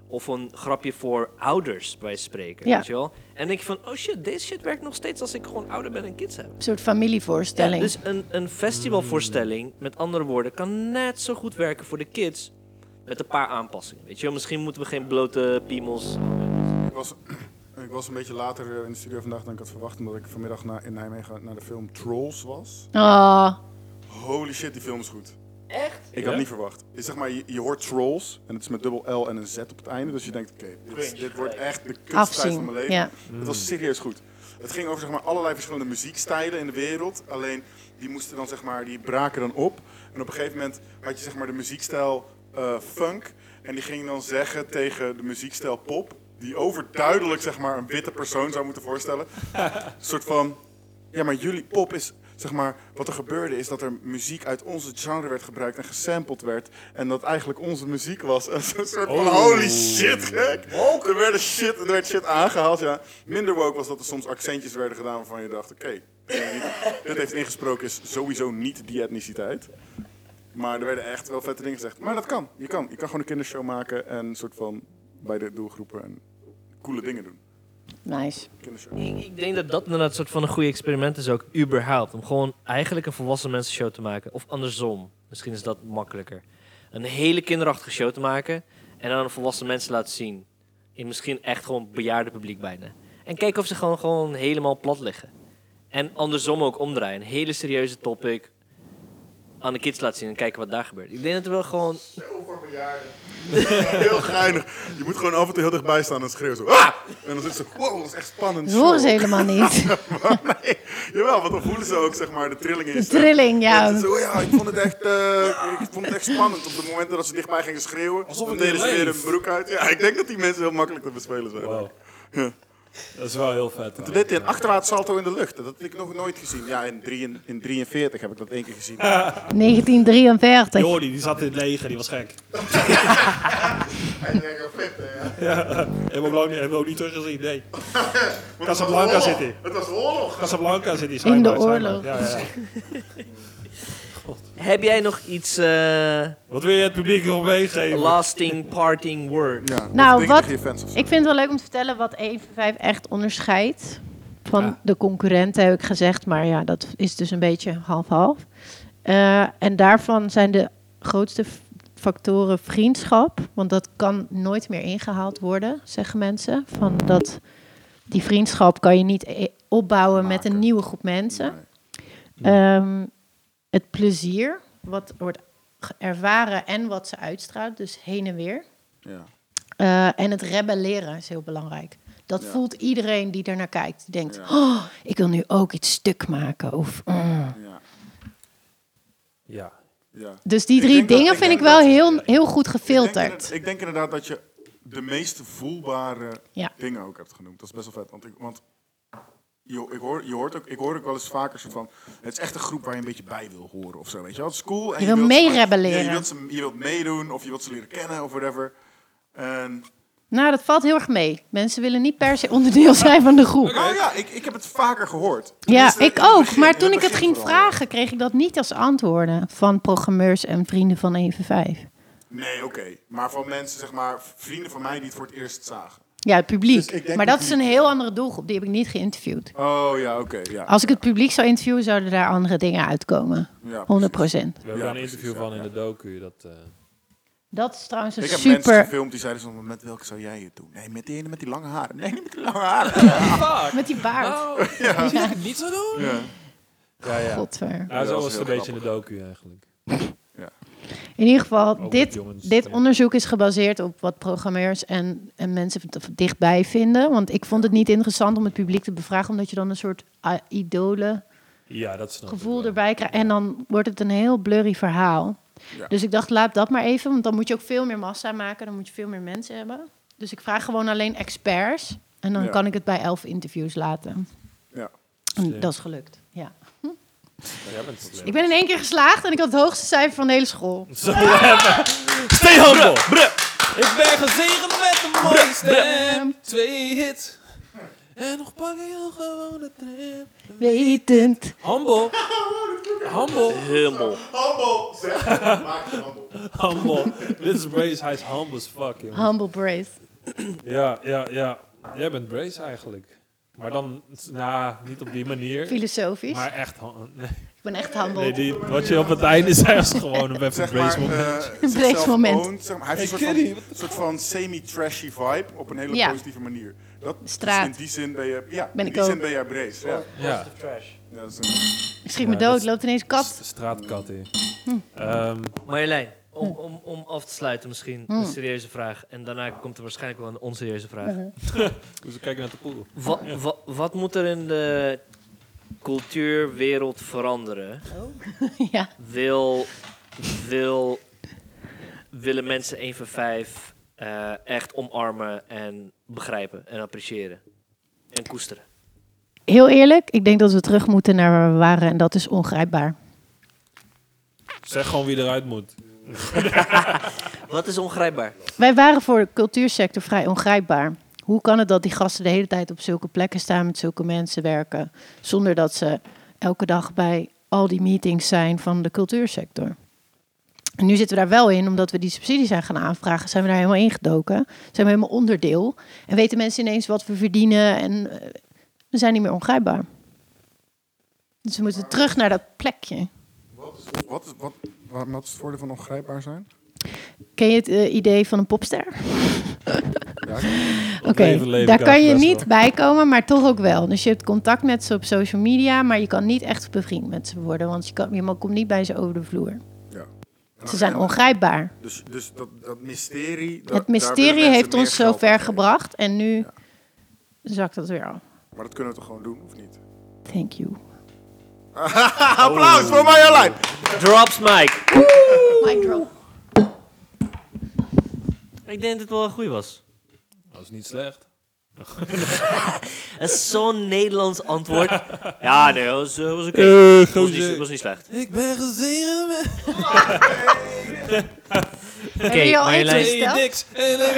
B: Of een grapje voor ouders, bij spreken.
D: Ja.
B: Weet je wel? En denk je van, oh shit, deze shit werkt nog steeds als ik gewoon ouder ben en kids heb.
D: Een soort familievoorstelling.
B: Ja, dus een, een festivalvoorstelling, met andere woorden, kan net zo goed werken voor de kids. Met een paar aanpassingen. Weet je wel, misschien moeten we geen blote piemels.
C: Ik was, ik was een beetje later eh, in de studio vandaag dan ik had verwacht, omdat ik vanmiddag naar, in Nijmegen naar de film Trolls was.
D: Oh,
C: Holy shit, die film is goed.
B: Echt?
C: Ik
A: Ja?
C: had niet verwacht. Je, zeg maar, je, je hoort trolls en het is met dubbel L en een Z op het einde. Dus je denkt, oké, dit, is- dit wordt echt de kutstijd van
D: afzien.
C: mijn leven.
D: Ja.
C: Het was serieus goed. Het ging over zeg maar, allerlei verschillende muziekstijlen in de wereld. Alleen die moesten dan, zeg maar, die braken dan op. En op een gegeven moment had je zeg maar, de muziekstijl eh, funk. En die ging dan zeggen tegen de muziekstijl pop. Die overduidelijk zeg maar, een witte persoon zou moeten voorstellen. Een soort van. Ja, maar jullie pop is. Zeg maar, wat er gebeurde is dat er muziek uit onze genre werd gebruikt en gesampled werd. En dat eigenlijk onze muziek was. Een soort van holy shit, gek. Er, werden shit. er werd shit aangehaald, ja. Minder woke was dat er soms accentjes werden gedaan waarvan je dacht, oké. dit heeft ingesproken is sowieso niet die etniciteit. Maar er werden echt wel vette dingen gezegd. Maar dat kan. Je kan, je kan gewoon een kindershow maken en een soort van bij de doelgroepen en coole dingen doen.
D: Nice.
C: Kindershow.
B: Ik, ik denk dat dat inderdaad een soort van een goede experiment is ook, überhaupt. Om gewoon eigenlijk een volwassen mensenshow te maken. Of andersom, misschien is dat makkelijker. Een hele kinderachtige show te maken en dan aan volwassen mensen laten zien. In misschien echt gewoon bejaarde publiek bijna. En kijken of ze gewoon, gewoon helemaal plat liggen. En andersom ook omdraaien. Een hele serieuze topic aan de kids laten zien en kijken wat daar gebeurt. Ik denk dat er wel gewoon...
C: Heel geinig. Je moet gewoon af en toe heel dichtbij staan en schreeuwen zo. Ah! En dan zit ze, wow, dat is echt spannend.
D: Dat horen ze
C: show."
D: helemaal niet.
C: nee, jawel, want dan voelen ze ook zeg maar de trilling in je
D: De
C: stem.
D: trilling, ja.
C: En ze Zo, ja, ik vond het echt, eh, ik vond het echt spannend. Op de momenten dat ze dichtbij gingen schreeuwen,
A: Alsof
C: dan
A: het
C: deden ze
A: niet
C: weer hun
A: leeft.
C: broek uit. Ja, ik denk dat die mensen heel makkelijk te bespelen zijn.
A: Wow. Dat is wel heel vet.
C: Toen
A: hoor.
C: deed hij een achterwaarts salto in de lucht. Dat heb ik nog nooit gezien. Ja, in, drie, in 43 heb ik dat één keer gezien.
D: 1943.
A: Jordi, die zat in het leger, die was gek. Hebben we ook, lang, hebben we ook niet teruggezien, nee. Casablanca zit hij.
C: Het was oorlog.
A: Casablanca zit hij.
D: In de
A: schijnbaar, schijnbaar.
D: oorlog.
A: Ja, ja, ja.
B: Heb jij nog iets eh,
A: Wat wil je het publiek nog meegeven?
B: lasting parting word?
C: Ja,
D: Nou, wat-
C: Je fans of zo.
D: Ik vind het wel leuk om te vertellen wat 1 voor 5 echt onderscheidt van de concurrenten, heb ik gezegd. Maar ja, dat is dus een beetje half-half. Eh, en daarvan zijn de grootste f- factoren vriendschap. Want dat kan nooit meer ingehaald worden, zeggen mensen. Van dat, die vriendschap kan je niet e- opbouwen met een nieuwe groep mensen. Ehm, het plezier, wat wordt ge- ervaren en wat ze uitstraalt. Dus heen en weer.
C: Ja.
D: Eh, en het rebelleren is heel belangrijk. Dat
C: Ja.
D: voelt iedereen die er naar kijkt. Die denkt,
C: Ja.
D: oh, ik wil nu ook iets stuk maken. Of, mm."
C: Ja.
A: Ja.
C: ja.
D: Dus die
C: Ik
D: drie
C: denk dat-
D: dingen
C: ik
D: vind
C: denk
D: ik wel
C: dat-
D: heel, heel goed
C: Ik denk, inderdaad-
D: gefilterd.
C: ik denk inderdaad dat je de meest voelbare
D: Ja.
C: dingen ook hebt genoemd. Dat is best wel vet. Want ik, want je, ik, hoor, je hoort ook, ik hoor ook wel eens vaker soort van... Het is echt een groep waar je een beetje bij wil horen of zo. Weet je wel, het is cool. En
D: Je wil
C: wilt ze-
D: meerebelleren.
C: Ja, je, wilt ze, je wilt meedoen of je wilt ze leren kennen of whatever. En,
D: Nou, dat valt heel erg mee. Mensen willen niet per se onderdeel zijn van de groep.
C: oh ja, ik, ik heb het vaker gehoord.
D: Ja,
C: Tenminste,
D: ik
C: in het
D: ook.
C: begin-
D: Maar
C: in
D: toen ik het
C: begin
D: ging
C: vooral.
D: vragen, kreeg ik dat niet als antwoorden van programmeurs en vrienden van Even 5.
C: Nee, oké. Maar van mensen, zeg maar, vrienden van mij die het voor het eerst zagen.
D: Ja, het
C: Dus
D: publiek.
C: ik denk
D: maar dat is
C: publiek,
D: een heel andere doelgroep. Die heb ik niet geïnterviewd.
C: Oh ja, oké. ja.
D: Als ik het publiek zou interviewen, zouden daar andere dingen uitkomen.
C: ja,
D: 100
C: precies.
A: We hebben
C: Ja,
A: een interview
C: precies,
A: van
C: ja,
A: in de docu. Dat, eh,
D: Dat is trouwens een
C: Ik heb mensen
D: super...
C: gefilmd die zeiden soms, met welke zou jij het doen? Nee, met die ene met die lange haren. Nee, niet met die lange haren.
D: Met die baard. Oh,
A: ja. Moet ik het niet zo doen?
C: ja.
A: Ja, ja.
D: Godver.
A: Ja,
C: dat
A: zo
C: is
A: was het een
C: heel
A: beetje in de docu eigenlijk.
D: In ieder geval,
C: Oh,
A: met
D: dit,
A: jongens,
D: dit
A: ja.
D: onderzoek is gebaseerd op wat programmeurs en, en mensen v- dichtbij vinden. Want ik vond het niet interessant om het publiek te bevragen, omdat je dan een soort ah, idole
A: Ja, dat snap ik
C: Oh,
D: gevoel
A: wel.
D: erbij krijgt. En dan wordt het een heel blurry verhaal.
C: Ja.
D: Dus ik dacht, laat dat maar even, want dan moet je ook veel meer massa maken. Dan moet je veel meer mensen hebben. Dus ik vraag gewoon alleen experts. En dan
C: Ja.
D: kan ik het bij elf interviews laten.
C: Ja.
D: En dat is gelukt, ja.
A: Dus, eh,
D: Hm?
A: Nou, Jij bent slim.
D: Ik ben in één keer geslaagd en ik had het hoogste cijfer van de hele school.
A: Zo even. Stay humble. Ik ben gezegend met een mooie stem. Twee hits. En nog pak ik heel gewoon de tram.
D: Wetend.
A: Humble. Humble.
B: Hummel.
C: Handel, zeg. Maak het handel.
A: Humble. Dit is Brace. Hij is humble as fuck, jongen.
D: Humble brace.
A: Ja, ja, ja. Jij bent Brace eigenlijk. Maar dan, nou, niet op die manier.
D: Filosofisch.
A: Maar echt, hum- nee,
D: ik ben echt humble.
A: nee, die, wat je op het einde zei was gewoon een even
C: Zeg
A: Brace
C: maar,
A: moment.
C: eh,
D: Brace
C: zichzelf
D: moment.
C: owned, zeg maar. Hij heeft
A: Hey,
C: een
A: Kitty,
C: soort
A: what
C: van, soort van semi-trashy vibe op een hele
D: Ja.
C: positieve manier. Dat, dus
D: Straat.
C: in die zin ben je, ja,
D: Ben
C: in
D: ik
C: die zin
D: ook.
C: ben jij Brace. Ja.
A: Ja.
C: Ja, dat is een-
D: ik schiet
A: Ja,
D: me dood,
A: dat-
D: loopt ineens kat.
A: St- Straatkat in. Ehm,
E: Marjolein, om, om, om af te sluiten misschien een serieuze vraag. En daarna komt er waarschijnlijk wel een onserieuze vraag.
A: dus we kijken naar de poel.
E: Wa- wa- wat moet er in de cultuurwereld veranderen?
D: ja.
E: Wil, wil, willen mensen 1 van 5 eh, echt omarmen en begrijpen en appreciëren? En koesteren?
D: Heel eerlijk, ik denk dat we terug moeten naar waar we waren en dat is ongrijpbaar.
A: Zeg gewoon wie eruit moet.
E: Wat is ongrijpbaar?
D: Wij waren voor de cultuursector vrij ongrijpbaar. Hoe kan het dat die gasten de hele tijd op zulke plekken staan, met zulke mensen werken, zonder dat ze elke dag bij al die meetings zijn van de cultuursector? En nu zitten we daar wel in, omdat we die subsidie zijn gaan aanvragen, zijn we daar helemaal ingedoken, zijn we helemaal onderdeel en weten mensen ineens wat we verdienen en eh, we zijn niet meer ongrijpbaar. Dus we moeten terug naar dat plekje.
C: wat, is, wat, wat, wat is het voordeel van ongrijpbaar zijn?
D: Ken je het eh, idee van een popster?
C: Ja,
D: Oké,
A: Leven, leven,
D: daar
A: kaas,
D: kan je
A: best
D: niet
A: wel.
D: bij komen, maar toch ook wel. Dus je hebt contact met ze op social media, maar je kan niet echt bevriend met ze worden, want je, kan, je komt niet bij ze over de vloer.
C: ja.
D: Ze zijn ongrijpbaar.
C: Dus, dus dat, dat mysterie... da-
D: Het
C: daar willen
D: mysterie
C: mensen
D: heeft
C: meer
D: ons zo
C: geld aan
D: ver
C: geven.
D: gebracht en nu zakt dat weer af.
C: Maar dat kunnen we toch gewoon doen, of niet?
D: Thank you.
C: Applaus voor Marjolein!
E: Drops Mike.
D: Mic drop.
E: Ik denk dat het wel een goeie was.
A: Dat is niet slecht.
E: Dat is zo'n Nederlands antwoord. Ja, nee, dat was, eh, was oké. was, niet, was niet slecht.
A: Ik ben gezien met
D: Hebben jullie al
E: Marjolein.
D: eten
A: twee
D: besteld?
A: diks. En dan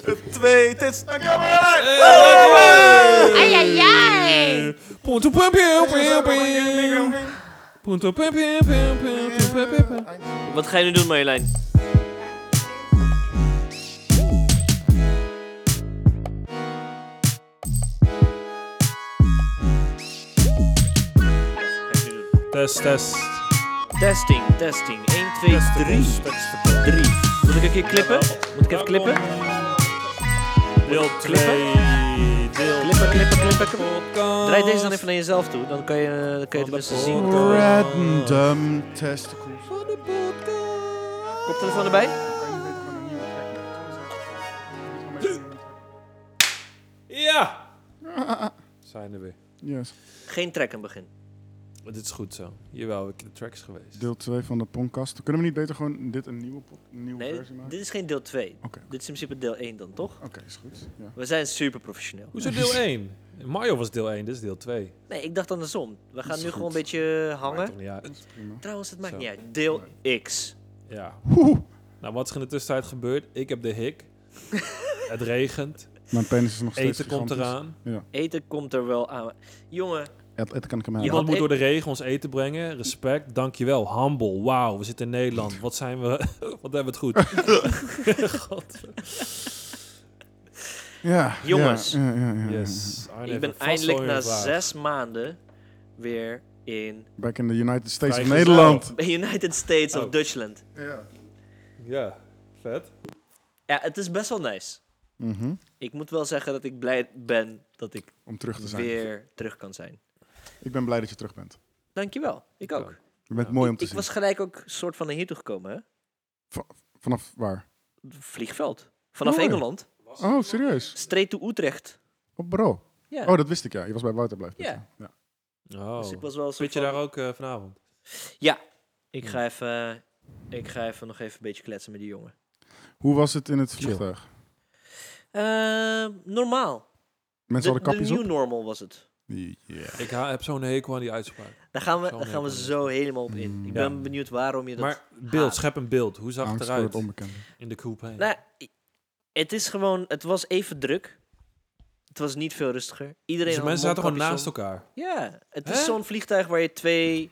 A: ben ik
C: Twee tits. Dankjewel, Marjolein!
D: Ai, ai, ai.
A: Punto pim pim pim pim. Punto pim pim pim pim pim pim pim.
E: Wat ga je nu doen, Marjolein?
A: Test, test.
E: Testing, testing. 1, 2, 3.
A: Test, test.
E: 3. Moet ik een keer klippen? Moet ik even klippen?
A: Deel 2. Dit
B: heel...
E: Klippen, klippen, klippen, klippen.
A: Draai
B: Draai deze dan even naar jezelf toe, dan kan je, eh, dan kan je het
A: Van de
B: tenminste zien.
A: podcast.
C: Random testicles.
A: Voor de podcast.
B: Koptelefoon erbij?
A: Ja! Zijn er weer.
C: Yes.
B: Geen trek aan het begin.
A: Maar dit is goed zo. Jawel, ik de tracks geweest.
C: Deel 2 van de podcast. Kunnen we niet beter gewoon dit een nieuwe, pod- een nieuwe
B: Nee,
C: versie maken?
B: dit is geen deel 2.
C: Oké,
B: Dit is in principe deel 1 dan, toch?
A: Oh.
C: oké, is goed. Ja.
B: We zijn super professioneel.
A: Hoezo deel 1? Mario was deel 1, dit is deel 2.
B: Nee, ik dacht andersom. We gaan nu
C: is goed.
B: gewoon een beetje eh, hangen.
A: Ja.
C: Dat is prima.
B: Trouwens, het maakt
A: Zo.
B: niet uit. Deel X.
A: ja. Nou, wat is er in de tussentijd gebeurd? Ik heb de hik. het regent.
C: Mijn penis is nog steeds
A: Eten komt
C: gigantisch.
A: eraan.
B: Eten komt er wel aan. Jongen,
C: Et- Eten kan
B: Je
C: ik hem hebben.
A: Iemand
B: had
A: moet
B: e-
A: door de regen ons eten brengen. Respect, dankjewel. Humble, wauw, we zitten in Nederland. Wat zijn we... Wat hebben we het goed. God.
C: Ja,
B: Jongens.
C: Ja, ja, ja, ja, ja.
A: Yes. Arne
B: ik
A: heeft
B: ben
A: vast wel
B: eindelijk
A: weer
B: na
A: een vraag.
B: zes maanden weer in
C: Back in the United States of
A: Vrijgezel.
C: Nederland.
B: United States of
A: Oh.
B: Dutchland.
C: Ja.
A: Ja, vet.
B: Ja, het is best wel nice.
C: Mhm.
B: Ik moet wel zeggen dat ik blij ben dat ik
C: Om terug te zijn.
B: weer terug kan zijn.
C: Ik ben blij dat je terug bent.
B: Dankjewel. Ik ook.
A: ook.
C: Je bent
A: Ja.
C: mooi om
B: ik
C: te
B: ik
C: zien.
B: was gelijk ook soort van naar hier toe gekomen, hè?
C: Vanaf waar?
B: Vliegveld. Vanaf
C: Mooi.
B: Engeland.
C: Oh, serieus?
B: Straight to Utrecht.
C: Op bureau?
B: Ja.
C: Oh, dat wist ik ja. Je was bij Wouter blijven.
B: Ja.
C: zitten. ja.
A: Oh.
B: Dus ik was wel een
A: Zit
B: soort
A: je
B: van-
A: daar ook eh, vanavond?
B: Ik ga even, eh, ik ga even nog even een beetje kletsen met die jongen.
C: Hoe was het in het
A: Chill.
C: vliegtuig?
B: Eh, normaal.
C: Mensen
B: de,
C: hadden kapjes
B: de new
C: op?
B: normal was het.
C: Ja.
A: Ik ha- heb zo'n hekel aan die uitspraak.
B: Daar gaan we,
A: Zo'n
B: daar gaan we
A: hekel.
B: zo helemaal op in. Ik ben
A: Mm, Ja.
B: benieuwd waarom je dat...
A: Maar
B: haat.
A: beeld, schep een beeld. Hoe zag het
C: Angst voor Nou, het
A: eruit
C: onbekende.
A: in de coupé?
B: Nou, i- het is gewoon... Het was even druk. Het was niet veel rustiger.
A: Dus
B: Iedereen
A: de
B: had
A: mensen zaten gewoon naast
B: mondkapjes
A: elkaar.
B: om. Ja, het
A: Hè?
B: is zo'n vliegtuig waar je twee,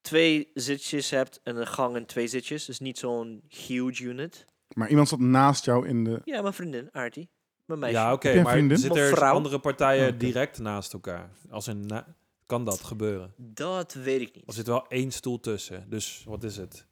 B: twee zitjes hebt. En een gang en twee zitjes. Dus niet zo'n huge unit.
C: Maar iemand zat naast jou in de...
B: Ja, mijn vriendin, Artie. Mijn meisje.
A: Ja, oké,
C: Heb je een
A: maar
C: vriendin?
A: zitten er
B: Of vrouw?
A: andere partijen
C: Oh, oké.
A: direct naast elkaar? Als een na- kan dat gebeuren?
B: Dat weet ik
A: Er
B: niet.
A: zit wel één stoel tussen, dus wat is het?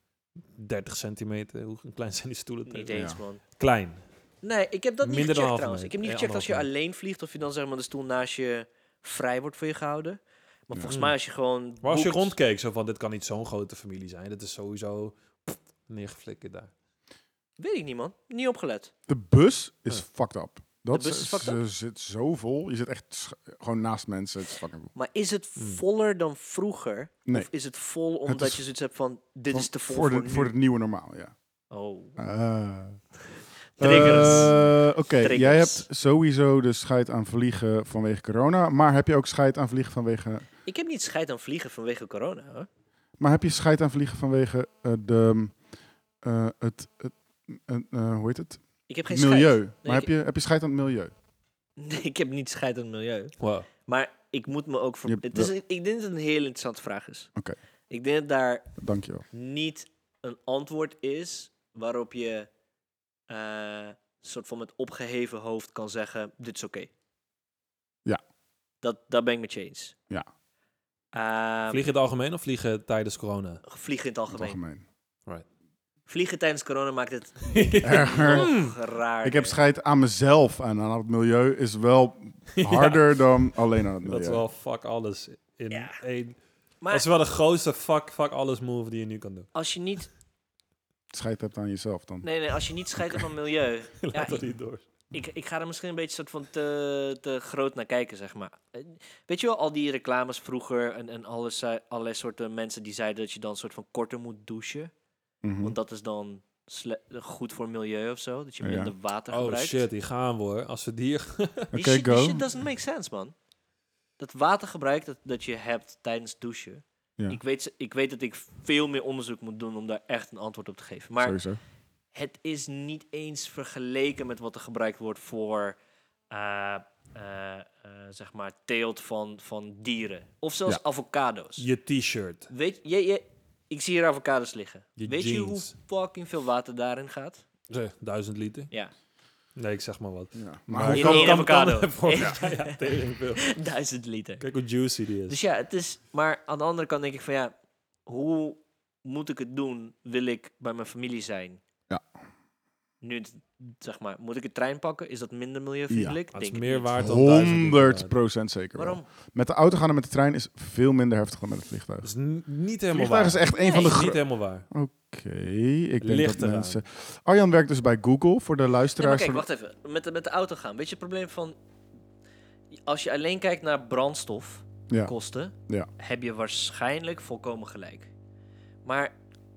A: 30 centimeter, hoe klein zijn die stoelen?
B: Niet
A: tegen-
B: eens,
C: Ja.
B: man.
A: Klein.
B: Nee, ik heb dat
A: Minder
B: niet
A: dan
B: gecheckt
A: halve
B: trouwens.
A: meter.
B: Ik heb niet
A: Eh,
B: gecheckt als je
A: anderhalve
B: alleen vliegt of je dan zeg maar de stoel naast je vrij wordt voor je gehouden. Maar
C: Ja.
B: volgens mij als je gewoon
A: Maar als je
B: boekt-
A: rondkeek, zo van, dit kan niet zo'n grote familie zijn. Dat is sowieso pff, neergeflikkerd daar.
B: Weet ik niet man, niet opgelet.
C: De bus is
A: Ja.
C: fucked up. Dat
B: bus is fucked
C: ze zit zo vol. Je zit echt sch- gewoon naast mensen. Het is fucking vol.
B: Maar is het voller dan vroeger?
C: Mm. Nee.
B: Of is het vol omdat
C: is
B: je zoiets hebt van dit
C: Van-
B: is te vol
C: voor,
B: voor,
C: de, voor
B: nu?
C: het nieuwe normaal, ja.
B: Oh.
C: Ah.
B: Triggers.
C: Eh, Oké,
B: Triggers.
C: jij hebt sowieso de scheid aan vliegen vanwege corona. Maar heb je ook scheid aan vliegen vanwege...
B: Ik heb niet scheid aan vliegen vanwege corona hoor.
C: Maar heb je scheid aan vliegen vanwege eh, de... eh, het, het eh, eh, hoe heet het?
B: Ik heb geen
C: milieu.
B: scheid.
C: maar
B: ik-
C: heb, je, heb je scheid aan het milieu?
B: Nee, ik heb niet scheid aan het milieu.
A: Wow.
B: Maar ik moet me ook... Voor...
C: Je hebt
B: Het is,
C: wel-
B: een- ik denk dat het een heel interessante vraag is.
C: Oké.
B: Ik denk dat daar
C: Dankjewel.
B: niet een antwoord is waarop je eh, soort van met opgeheven hoofd kan zeggen: dit is oké.
C: Ja.
B: Dat, dat ben ik met je eens.
C: Ja.
B: Ehm,
A: Vliegen in het algemeen of vliegen tijdens corona?
B: vliegen in het
C: In het
B: algemeen.
C: algemeen.
B: Vliegen tijdens corona maakt het
C: Erger.
B: nog raar.
C: Hmm. Ik heb scheid aan mezelf en aan het milieu is wel harder dan alleen aan het milieu.
A: Dat is wel fuck alles in
B: Ja.
A: één.
B: Maar
A: Dat is wel de grootste fuck, fuck alles move die je nu kan doen.
B: als je niet,
C: Scheid hebt aan jezelf dan.
B: nee, nee, als je niet scheidt van milieu.
A: Laat
B: Ja,
A: dat
B: ik-
A: niet door.
B: Ik, ik ga er misschien een beetje soort van te, te groot naar kijken, zeg maar. Eh, Weet je wel, al die reclames vroeger en, en alles, zei- allerlei soorten mensen die zeiden dat je dan soort van korter moet douchen.
C: Mhm.
B: Want dat is dan sle- goed voor milieu of zo, dat je
C: Ja.
B: minder water
A: Oh
B: gebruikt.
A: shit, die gaan we hoor. Als we die
B: Die,
C: Oké,
B: shit, die
C: go.
B: shit doesn't make sense, man. Dat watergebruik dat, dat je hebt tijdens douchen.
C: Ja.
B: Ik, weet, ze- ik weet dat ik veel meer onderzoek moet doen om daar echt een antwoord op te geven. Maar
C: Sowieso.
B: het is niet eens vergeleken met wat er gebruikt wordt voor eh, eh, eh, zeg maar teelt van, van dieren. Of zelfs
C: Ja.
B: avocado's.
A: Je t-shirt.
B: Weet je, je, ik zie hier avocado's liggen.
A: Je
B: Weet je hoe
A: jeans.
B: fucking veel water daarin gaat?
A: Eh, Duizend liter?
B: Ja,
A: Nee, ik zeg maar wat.
C: Ja.
A: Maar
C: Maar hoe
B: in
C: kan-
B: één avocado.
A: voor- ja, ja, tering veel.
B: duizend liter.
A: Kijk hoe juicy die is.
B: Dus ja, het is. Maar aan de andere kant denk ik van ja, hoe moet ik het doen? Wil ik bij mijn familie zijn?
C: Ja.
B: Nu, het- zeg maar, moet ik een trein pakken? Is dat minder milieuvriendelijk?
A: Dat is
B: Denk het
A: meer
B: niet.
A: waard dan
C: 100
A: Dat
C: zeker. wel.
B: Waarom?
C: Met de auto gaan en met de trein is veel minder heftig dan met het vliegtuig.
A: is n- niet helemaal
C: vliegtuig
A: waar.
C: is echt een van de
A: Is niet
C: grote.
A: helemaal waar.
C: Oké, ik denk
A: Ligt
C: dat
A: eraan.
C: mensen. Arjan werkt dus bij Google voor de
B: Nee, maar
C: luisteraars.
B: kijk,
C: van-
B: wacht even. Met de, met de auto gaan. Weet je het probleem van... Als je alleen kijkt naar brandstofkosten...
C: ja. Ja.
B: heb je waarschijnlijk volkomen gelijk. Maar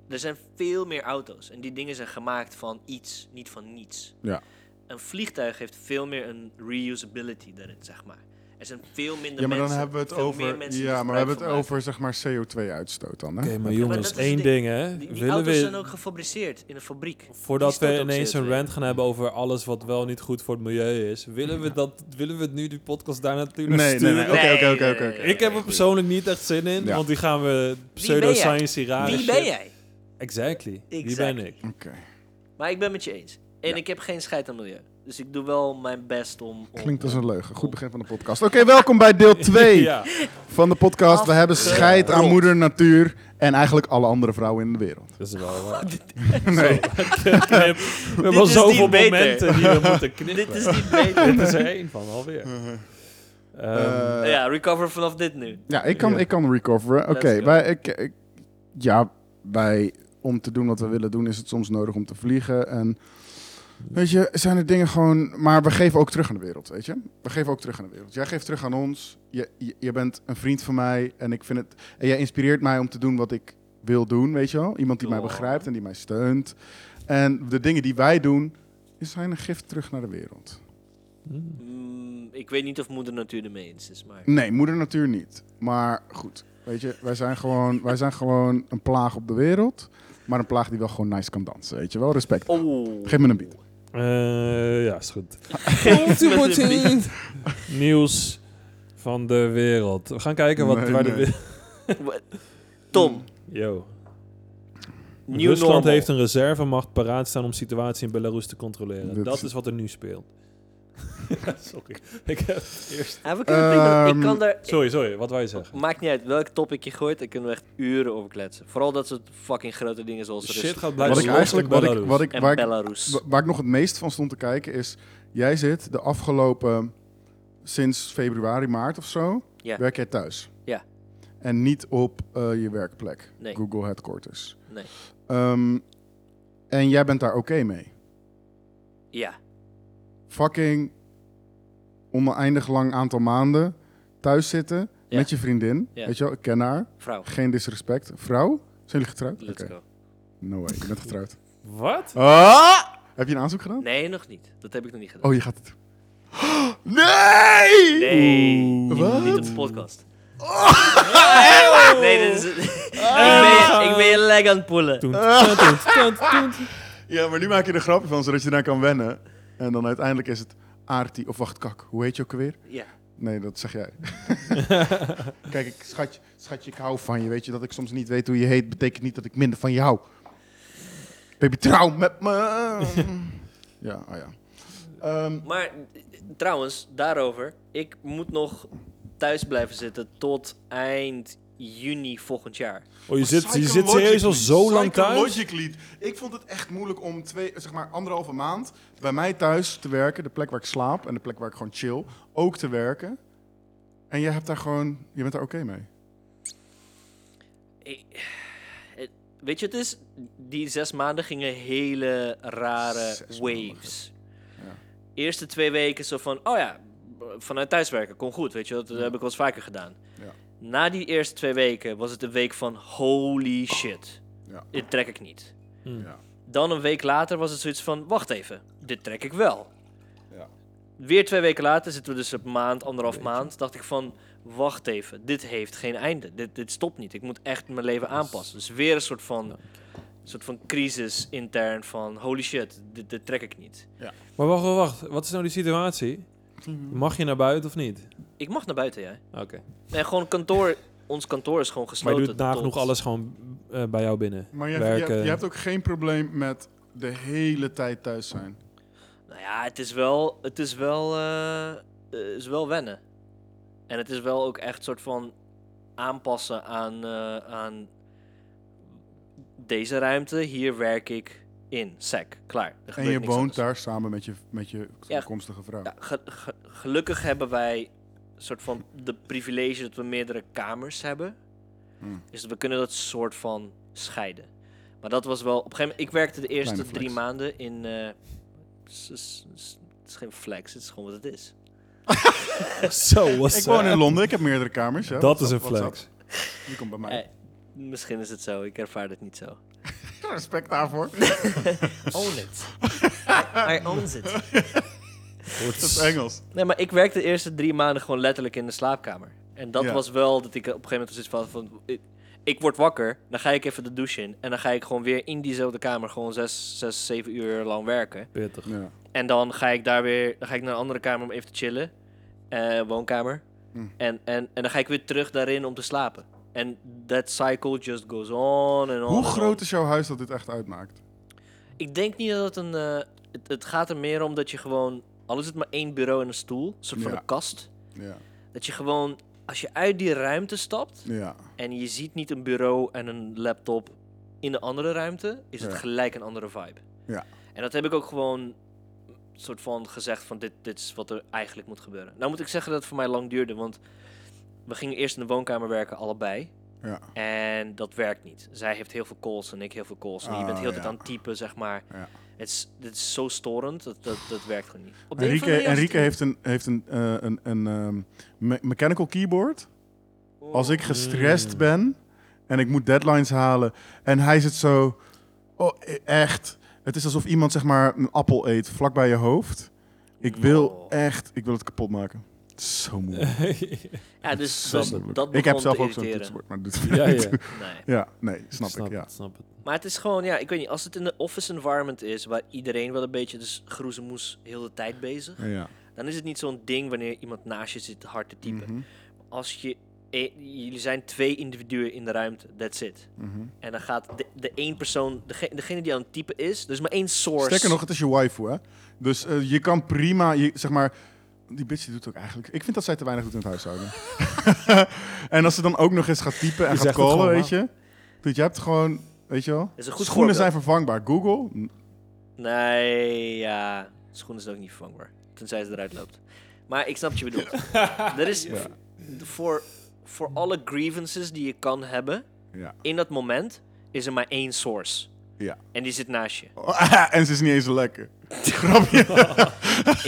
B: er zijn veel meer auto's. En die dingen zijn gemaakt van iets, niet van niets.
C: Ja.
B: Een vliegtuig heeft veel meer een reusability daarin, zeg maar. Er zijn veel minder
C: ja, maar dan
B: mensen,
C: hebben we het
B: veel meer
C: over.
B: mensen die
C: Ja, maar we hebben
B: gebruik
C: het
B: van maken.
C: over zeg maar CO2-uitstoot dan. Hè?
A: Oké, maar
B: Ja, maar
A: jongens,
B: dat is
A: één
B: het
A: ding hè.
B: Die, die
A: Willen
B: auto's zijn
A: we,
B: ook gefabriceerd in een fabriek.
A: voordat
B: stoten
A: we
B: ook
A: ineens
B: CO2.
A: een rant gaan hebben over alles wat wel niet goed voor het milieu is, willen we, dat, willen we het nu die podcast daar natuurlijk
C: Nee, nee,
A: sturen?
C: nee. Oké, oké, oké, oké.
B: nee, nee,
A: Ik heb er
B: nee.
A: persoonlijk niet echt zin in,
C: Ja.
A: want die gaan we
B: Wie ben jij?
A: pseudoscience raar.
B: Wie ben jij?
A: Exactly. Wie ben
B: Exactly.
A: ik?
C: Oké.
B: Maar ik ben met je eens. En
C: Ja.
B: ik heb geen scheid aan milieu. Dus ik doe wel mijn best om... om
C: Klinkt als een leugen. Goed begin van de podcast. Oké, welkom bij deel 2
A: Ja.
C: van de podcast. We hebben scheid aan moeder natuur en eigenlijk alle andere vrouwen in de wereld.
A: Dat is wel waar.
C: Nee.
A: We hebben al
B: is
A: zoveel
B: niet beter.
A: momenten die we moeten
B: Dit
A: knippen.
B: is niet beter.
A: Dit is er één van, alweer.
C: Uh-huh.
A: Ehm,
C: Eh,
B: ja, recover vanaf dit nu.
C: Ja, ik kan,
A: Ja.
C: ik kan recoveren. Oké,
B: Let's go.
C: wij, ik, ik- ja, wij, om te doen wat we willen doen, is het soms nodig om te vliegen. En weet je, zijn er dingen gewoon. Maar we geven ook terug aan de wereld, weet je? We geven ook terug aan de wereld. Jij geeft terug aan ons. Je, je, je bent een vriend van mij en ik vind het. En jij inspireert mij om te doen wat ik wil doen, weet je wel? Iemand die mij
B: Oh.
C: begrijpt en die mij steunt. En de dingen die wij doen, zijn een gift terug naar de wereld.
B: Mm, ik weet niet of moeder natuur ermee eens is, maar...
C: Nee, moeder natuur niet. Maar goed, weet je, wij zijn gewoon, wij zijn gewoon een plaag op de wereld. Maar een plaag die wel gewoon nice kan dansen, weet je wel? Respect.
B: Oh.
C: Geef me een beat.
A: Eh, ja, is goed.
B: Geef me een beat.
A: Nieuws van de wereld. We gaan kijken wat,
C: Nee,
A: waar
C: nee.
A: de wereld...
B: Wat? Tom,
A: Yo.
B: New
A: Rusland
B: normal.
A: heeft een reservemacht paraat staan om situatie in Belarus te controleren.
C: Dat
A: Dat,
C: is-
A: is wat er nu speelt. sorry. Ik heb eerst...
B: Ja, we kunnen prima-
C: Ehm,
B: ik kan daar...
A: Sorry, sorry. Wat wij zeggen?
B: Maakt niet uit welk topic je gooit, daar kunnen we echt uren over kletsen. Vooral dat soort fucking grote dingen zoals
A: Shit
B: Rusland
A: gaat
C: Wat
A: blijven
C: ik
A: los
C: eigenlijk,
A: in
C: wat ik,
A: Belarus.
C: wat ik,
B: en
C: waar, ik,
B: Belarus.
C: wa- waar ik nog het meest van stond te kijken is... Jij zit de afgelopen, sinds februari, maart of zo,
B: Ja.
C: werk jij thuis.
B: Ja.
C: En niet op eh, je werkplek,
B: Nee.
C: Google Headquarters.
B: Nee.
C: Ehm, en jij bent daar oké mee.
B: Ja,
C: fucking oneindig lang aantal maanden thuis zitten
B: Ja.
C: met je vriendin.
B: Ja.
C: Weet je wel, ik ken haar.
B: vrouw.
C: Geen disrespect. Vrouw? Zijn jullie getrouwd?
B: Let's
C: Oké.
B: go.
C: No way, je bent getrouwd.
A: Wat?
C: Ah! Heb je een aanzoek gedaan?
B: Nee, nog niet. Dat heb ik nog niet gedaan.
C: Oh, je gaat het doen. Nee!
B: Nee,
C: Oeh,
B: je moet niet
C: wat?
B: op de podcast. Nee, dit is... ik, ben je, ik ben je leg aan het poelen.
A: Toen, toen, toen, toen, toen.
C: Ja, maar nu maak je er grapje van, zodat je daar kan wennen. En dan uiteindelijk is het Aarti, of wacht, kak, hoe heet je ook alweer?
B: Ja.
C: Nee, dat zeg jij. Kijk, ik, schatje, schatje, ik hou van je. Weet je, dat ik soms niet weet hoe je heet, betekent niet dat ik minder van je hou. Baby, trouw met me. ja, ah ja. Ehm,
B: Maar eh, trouwens, daarover. Ik moet nog thuis blijven zitten tot eind juni volgend jaar.
A: Oh, je zit, je zit
C: Psychologically,
A: serieus al zo lang thuis?
C: psychologically. Ik vond het echt moeilijk om twee, zeg maar anderhalve maand bij mij thuis te werken. De plek waar ik slaap en de plek waar ik gewoon chill. Ook te werken. En jij hebt daar gewoon, je bent daar oké mee.
B: Ik- eh, Weet je, het is. Die zes maanden gingen hele rare
C: Zes
B: waves.
C: Ja.
B: Eerste twee weken zo van: oh ja, b- vanuit thuiswerken kon goed. Weet je, dat heb ik wel eens vaker gedaan.
C: Ja.
B: Na die eerste twee weken was het een week van: holy shit,
C: Ja.
B: dit trek ik niet.
C: Ja.
B: Dan een week later was het zoiets van: wacht even, dit trek ik wel.
C: Ja.
B: Weer twee weken later zitten we dus op maand, anderhalf maand. Dacht ik van: wacht even, dit heeft geen einde. Dit, dit stopt niet. Ik moet echt mijn leven aanpassen. Dus weer een soort van, soort van crisis intern van: holy shit, dit, dit trek ik niet.
A: Maar wacht, wacht, wacht. Wat is nou die situatie? Mag je naar buiten of niet?
B: Ik mag naar buiten, jij.
A: Oké.
B: En gewoon kantoor, ons kantoor is gewoon
A: Maar
B: gesloten.
A: je doet nagenoeg
B: tot-
A: alles gewoon eh, bij jou binnen.
C: Maar je,
A: Werken.
C: je, je hebt ook geen probleem met de hele tijd thuis zijn.
B: Nou ja, het is wel, het is wel, eh, eh, is wel wennen. En het is wel ook echt soort van aanpassen aan, eh, aan deze ruimte. Hier werk ik, in, sec, klaar. Er
C: En
B: gebeurt
C: je
B: niks
C: woont
B: anders.
C: daar samen met je, met je
B: Ja.
C: toekomstige vrouw.
B: Ja, ge- ge- gelukkig hebben wij een soort van de privilege dat we meerdere kamers hebben.
C: Hmm.
B: Dus we kunnen dat soort van scheiden. Maar dat was wel. Op een gegeven moment, ik werkte de eerste
C: Kleine
B: drie
C: flex.
B: maanden in. eh, s- s- s- het is geen flex, het is gewoon wat het is.
A: Zo was
C: Ik woon in Londen, ik heb meerdere kamers. Ja.
A: Dus, eh, Dat is een
C: What's up?
A: flex.
C: Je komt bij mij.
B: Eh, misschien is het zo, ik ervaar het niet zo.
C: Respect daarvoor.
B: Own it. I, owns it.
A: Wordt-
C: Dat is Engels.
B: Nee, maar ik werkte de eerste drie maanden gewoon letterlijk in de slaapkamer. En dat
C: Ja.
B: was wel dat ik op een gegeven moment zoiets van... van ik, ik word wakker, dan ga ik even de douche in. En dan ga ik gewoon weer in diezelfde kamer gewoon zes, zes zeven uur lang werken.
A: Pittig.
C: Ja.
B: En dan ga ik daar weer dan ga ik naar een andere kamer om even te chillen. Eh, woonkamer.
C: Hm.
B: En, en, en dan ga ik weer terug daarin om te slapen. En that cycle just goes on en on. and
C: Hoe
B: on.
C: groot is jouw huis dat dit echt uitmaakt?
B: Ik denk niet dat het een... eh, het, het gaat er meer om dat je gewoon... Al is het maar één bureau en een stoel. Een soort van
C: Ja.
B: een kast.
C: Ja.
B: Dat je gewoon, als je uit die ruimte stapt
C: ja.
B: en je ziet niet een bureau en een laptop in de andere ruimte, is het
C: Ja.
B: gelijk een andere vibe.
C: Ja.
B: En dat heb ik ook gewoon soort van gezegd van dit, dit is wat er eigenlijk moet gebeuren. Nou moet ik zeggen dat het voor mij lang duurde, want we gingen eerst in de woonkamer werken allebei.
C: Ja.
B: En dat werkt niet. Zij heeft heel veel calls en ik heel veel calls. En je
C: Ah,
B: bent heel de tijd
C: ja.
B: aan het typen, zeg maar.
C: Ja.
B: Het is, dit is zo storend, dat, dat, dat werkt gewoon niet. Op de een of
C: Enrique,
B: andere manier was
C: Enrique heeft een, heeft een, eh, een, een ehm, me- mechanical keyboard.
B: het-
C: Als ik gestrest
A: Mm.
C: ben en ik moet deadlines halen en hij zit zo... Oh, e- echt. Het is alsof iemand zeg maar een appel eet vlak bij je hoofd. Ik wil
B: Oh.
C: echt... Ik wil het kapot maken. Het is zo moeilijk.
B: Ja, dus,
A: Snap
B: dus
A: ik.
B: dat
C: ik heb
B: begon
C: zelf
B: te
C: ook zo'n
B: irriteren.
C: toetsenbord, maar dat doet
A: Ja, ja.
B: Nee.
C: Ja, nee, snap, ik. Ja.
A: het, snap het.
B: Maar het is gewoon, ja, ik weet niet, als het in de office environment is, waar iedereen wel een beetje dus groezemoes heel de tijd bezig,
C: ja.
B: dan is het niet zo'n ding wanneer iemand naast je zit hard te typen.
C: Mhm,
B: Als je, eh, jullie zijn twee individuen in de ruimte, that's it.
C: mhm.
B: En dan gaat de, de één persoon, degene, degene die aan het typen is, dus maar één source.
C: Sterker nog, het is je waifu, hè? Dus eh, je kan prima, je, zeg maar... Die bitch die doet ook eigenlijk... Ik vind dat zij te weinig doet in het huishouden. en als ze dan ook nog eens gaat typen en
A: Je
C: gaat
A: zegt het
C: callen,
A: gewoon,
C: weet je... Dude, je hebt gewoon, weet je wel...
B: is een goed
C: Schoenen
B: voorbeeld.
C: zijn vervangbaar. Google? N-
B: Nee, ja, schoenen zijn ook niet vervangbaar, tenzij ze eruit loopt. Maar ik snap wat je bedoelt. Er is
C: Ja.
B: voor, voor alle grievances die je kan hebben,
C: Ja.
B: in dat moment is er maar één source.
C: Ja.
B: En die zit naast je.
C: Oh, en ze is niet eens lekker. Grapje.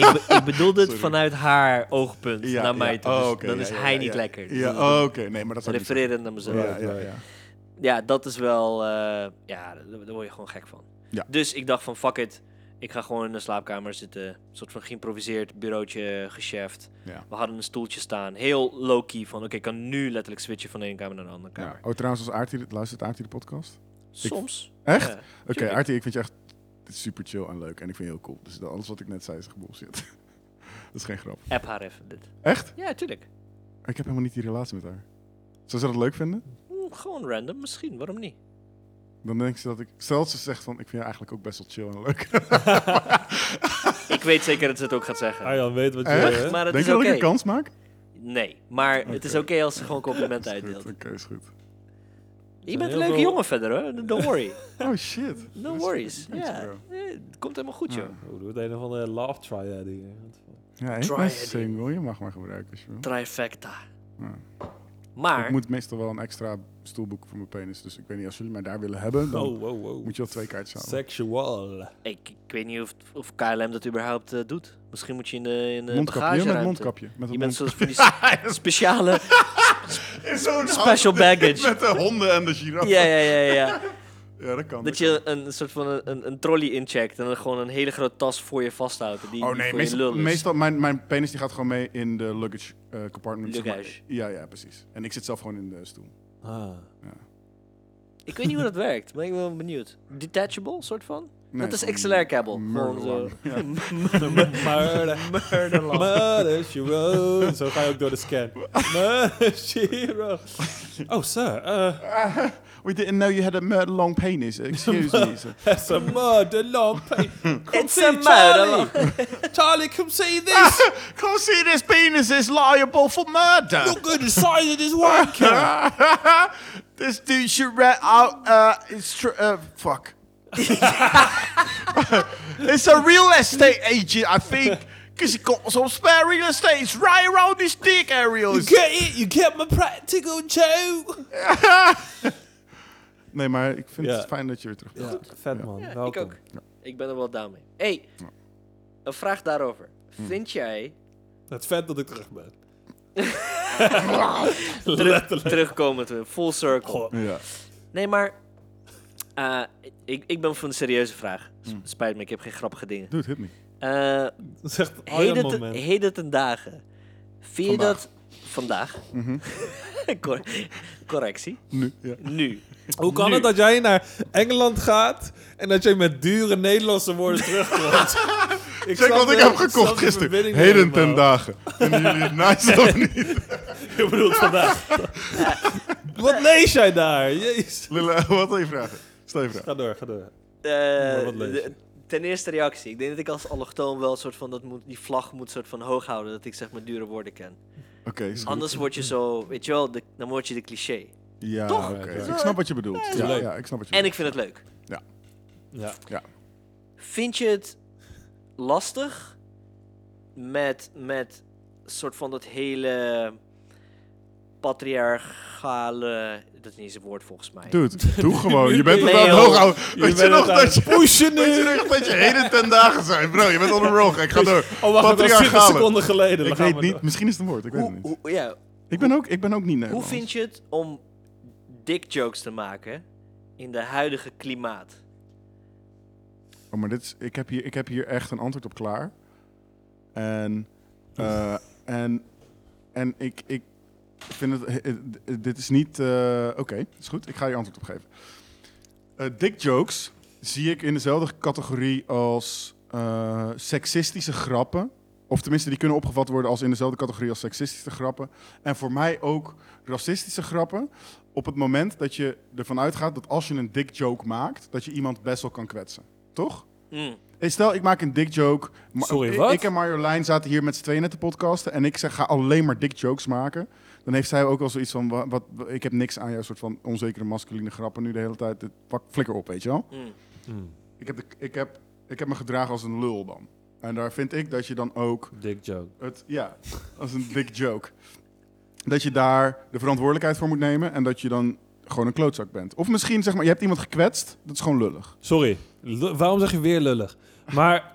B: ik, be- ik bedoel dit
C: Sorry.
B: vanuit haar oogpunt
C: Ja,
B: naar mij
C: ja.
B: toe.
C: Oh,
B: Dus
C: oké,
B: dan
C: ja,
B: is
C: ja,
B: hij
C: ja,
B: niet
C: ja.
B: lekker.
C: Ja,
B: Dus
C: oh, oké. Nee, maar dat zou ik niet
B: Refereren naar mezelf.
C: zeggen.
B: Ja.
C: Ja, ja, ja.
B: dat is wel... eh, ja, daar daar word je gewoon gek van.
C: Ja.
B: Dus ik dacht van, fuck it. Ik ga gewoon in de slaapkamer zitten. Een soort van geïmproviseerd bureautje, geschäft.
C: Ja.
B: We hadden een stoeltje staan. Heel low-key van, oké, ik kan nu letterlijk switchen van de ene kamer naar de andere
C: Ja.
B: kamer.
C: Oh, trouwens, als Aartie, luistert Aartie de podcast?
B: Soms.
C: Echt?
B: Ja.
C: Oké,
B: Tuurlijk.
C: Aartie, ik vind je echt super chill en leuk. En ik vind je heel cool. Dus alles wat ik net zei is echt bullshit. dat is geen grap.
B: App haar even dit.
C: Echt?
B: Ja, tuurlijk.
C: Ik heb helemaal niet die relatie met haar. Zou ze dat leuk vinden?
B: Hm, gewoon random, misschien. Waarom niet?
C: Dan denk ze dat ik... Stel dat ze zegt van, ik vind je eigenlijk ook best wel chill en leuk.
B: Ik weet zeker dat ze het ook gaat zeggen.
A: Arjan weet wat je...
C: Echt?
A: hè?
B: Eh, Maar dat
C: denk
B: is
C: je
B: oké.
C: dat ik een kans maak?
B: Nee, maar het is
C: Oké.
B: oké als ze gewoon complimenten
C: Is goed,
B: uitdeelt.
C: Oké, is goed.
B: Je bent een
A: heel
B: leuke
A: veel-
B: jongen verder hoor, don't worry.
C: Oh shit.
B: No worries.
C: Thanks,
B: Ja,
C: bro.
B: eh, het komt helemaal goed joh.
A: Oh, doe het een of andere love triad hier.
C: Ja, ik
B: Try
C: ben
B: it.
C: single. Je mag maar gebruiken als je wil.
B: Trifecta.
C: Ja. Hmm. Ik
B: Maar,
C: moet meestal wel een extra stoel boeken voor mijn penis. Dus ik weet niet, als jullie mij daar willen hebben, dan
A: Oh, wow, wow.
C: moet je wel twee kaartjes halen.
A: Sexual.
B: ik, ik weet niet of, of KLM dat überhaupt eh, doet. Misschien moet je in de, in de
C: Mondkapje, ja, met
B: eh, bagageruimte.
C: mondkapje. Met
B: Je
C: een
B: bent
C: mond-
B: zoals voor die s- speciale
C: Zo'n
B: special baggage.
C: Met de honden en de giraffen.
B: Ja, ja, ja, ja.
C: Ja, dat kan. dus.
B: Dat je een soort van een, een, een trolley incheckt en dan gewoon een hele grote tas voor je vasthoudt. Die,
C: Oh
B: die
C: nee,
B: voor je
C: meestal,
B: lul is.
C: meestal mijn, mijn penis die gaat gewoon mee in de luggage eh, compartment. zeg maar.
B: Luggage.
C: Ja, ja, precies. En ik zit zelf gewoon in de stoel.
A: Ah.
B: Ik weet niet hoe dat werkt, maar ik ben wel benieuwd. Detachable, soort van?
C: Nee,
B: dat
C: gewoon
B: is XLR-kabel. Gewoon zo.
C: murderlang. Ja.
A: Murder. Murder, she wrote. Zo ga je ook door de scan. Murder, she wrote. Oh, sir. Uh,
C: Ah, we didn't know you had a murder long penis. Excuse me. sir.
A: that's a murder long pain. Come
B: It's
A: see
B: a
A: Charlie.
B: murder
A: Charlie, come see this.
C: Come see this penis is liable for murder.
A: Look at the size of this wanker.
F: Dus oh,
C: this dude should rat out. Uh, it's tr- uh, fuck.
F: It's a real estate agent, I think. Because he got some spare real estate. It's right around this dick area. It's-
A: Get it? You get my practical joke?
C: Nee, maar ik vind
A: Ja.
C: het fijn dat je weer terug bent.
A: Ja, vet man.
B: Ja, ik
A: Welkom.
B: ook. Ik ben er wel down mee. hey, een vraag daarover.
C: Hmm.
B: Vind jij,
A: Het is vet dat ik terug ben. Letterlijk.
B: terugkomend, eh, full circle.
A: Goh.
C: Ja.
B: Nee, maar eh, ik, ik ben voor een serieuze vraag. S- Spijt me, ik heb geen grappige dingen.
C: Hmm. Doe het, hit me.
B: Eh
A: Dat is echt een
B: heden, te,
A: moment.
B: heden ten dagen. Vind je
C: Vandaag. Mhm.
B: dat... Vandaag. Cor- correctie.
C: Nu. Ja.
B: Nu.
A: Hoe kan het dat jij naar Engeland gaat en dat jij met dure Nederlandse woorden terugkomt? ik
C: Check
A: snap
C: wat
A: de-
C: ik heb
A: snap de
C: gekocht gisteren.
A: verbinding
C: Heden
A: niet
C: ten
A: helemaal.
C: dagen. Vinden jullie het nice of niet?
A: Ik bedoel vandaag. Wat lees jij daar? Jezus.
C: Lille, wat wil je vragen? Stel je vraag.
A: Ga door, ga door.
B: Eh,
A: wat lees
B: de-
A: je?
B: ten eerste reactie. Ik denk dat ik als allochtoon wel een soort van... Dat moet, die vlag moet soort van hoog houden. Dat ik zeg maar dure woorden ken.
C: Oké, is goed.
B: Anders word je zo... Weet je wel, de- dan word je de cliché.
C: Ja,
B: Toch?
C: oké.
A: Ja.
C: ik snap wat je bedoelt. Ja,
A: Leuk.
C: ja, ik snap wat je
B: En
C: bedoelt.
B: ik vind het leuk.
A: Ja.
B: Vind je het lastig met, met soort van dat hele patriarchale... Dat is niet eens een woord volgens mij.
C: Dude, doe gewoon. Je bent het
B: Nee,
C: aan het
B: joh.
C: hoog houden. Weet je
A: bent
C: nog
A: het aan
C: dat je...
A: het pushen nu.
C: Weet je nog dat je heden ten dagen zijn? Bro, je bent on a roll. Ik ga door.
A: Oh, wacht, dat was 20
C: Patriarchale.
A: seconden geleden.
C: Ik
A: Dan gaan
C: weet
A: we
C: niet.
A: door.
C: Misschien is het een woord. Ik weet het
B: Hoe,
C: niet.
B: hoe, ja,
C: Ik ben ook, ik ben ook niet
B: hoe
C: Nederlands.
B: vind je het om dick jokes te maken in de huidige klimaat?
C: Oh, maar dit is, ik, heb hier, ik heb hier echt een antwoord op klaar. En, eh, en, en ik, ik vind het, eh, eh, dit is niet, eh, oké, is goed, ik ga je antwoord op geven. Eh dick jokes zie ik in dezelfde categorie als eh, seksistische grappen. Of tenminste, die kunnen opgevat worden als in dezelfde categorie als seksistische grappen. En voor mij ook racistische grappen. Op het moment dat je ervan uitgaat dat als je een dick joke maakt, dat je iemand best wel kan kwetsen. Toch?
B: Mm.
C: Hey, stel, ik maak een dick joke. Ma-
A: Sorry,
C: ik-
A: wat?
C: Ik en Marjolein zaten hier met z'n tweeën net te podcasten. En ik zeg, ga alleen maar dick jokes maken. Dan heeft zij ook wel zoiets van, wa- wat, wa- ik heb niks aan jouw soort van onzekere masculine grappen nu de hele tijd. Dit- Pak, flikker op, weet je wel.
B: Mm.
A: Hmm,
C: Ik heb, de, ik, heb, ik heb me gedragen als een lul dan. En daar vind ik dat je dan ook,
A: Dick joke.
C: het, ja, als een dick joke. Dat je daar de verantwoordelijkheid voor moet nemen. En dat je dan gewoon een klootzak bent. Of misschien, zeg maar, je hebt iemand gekwetst. Dat is gewoon lullig.
A: Sorry. Lu- waarom zeg je weer lullig? Maar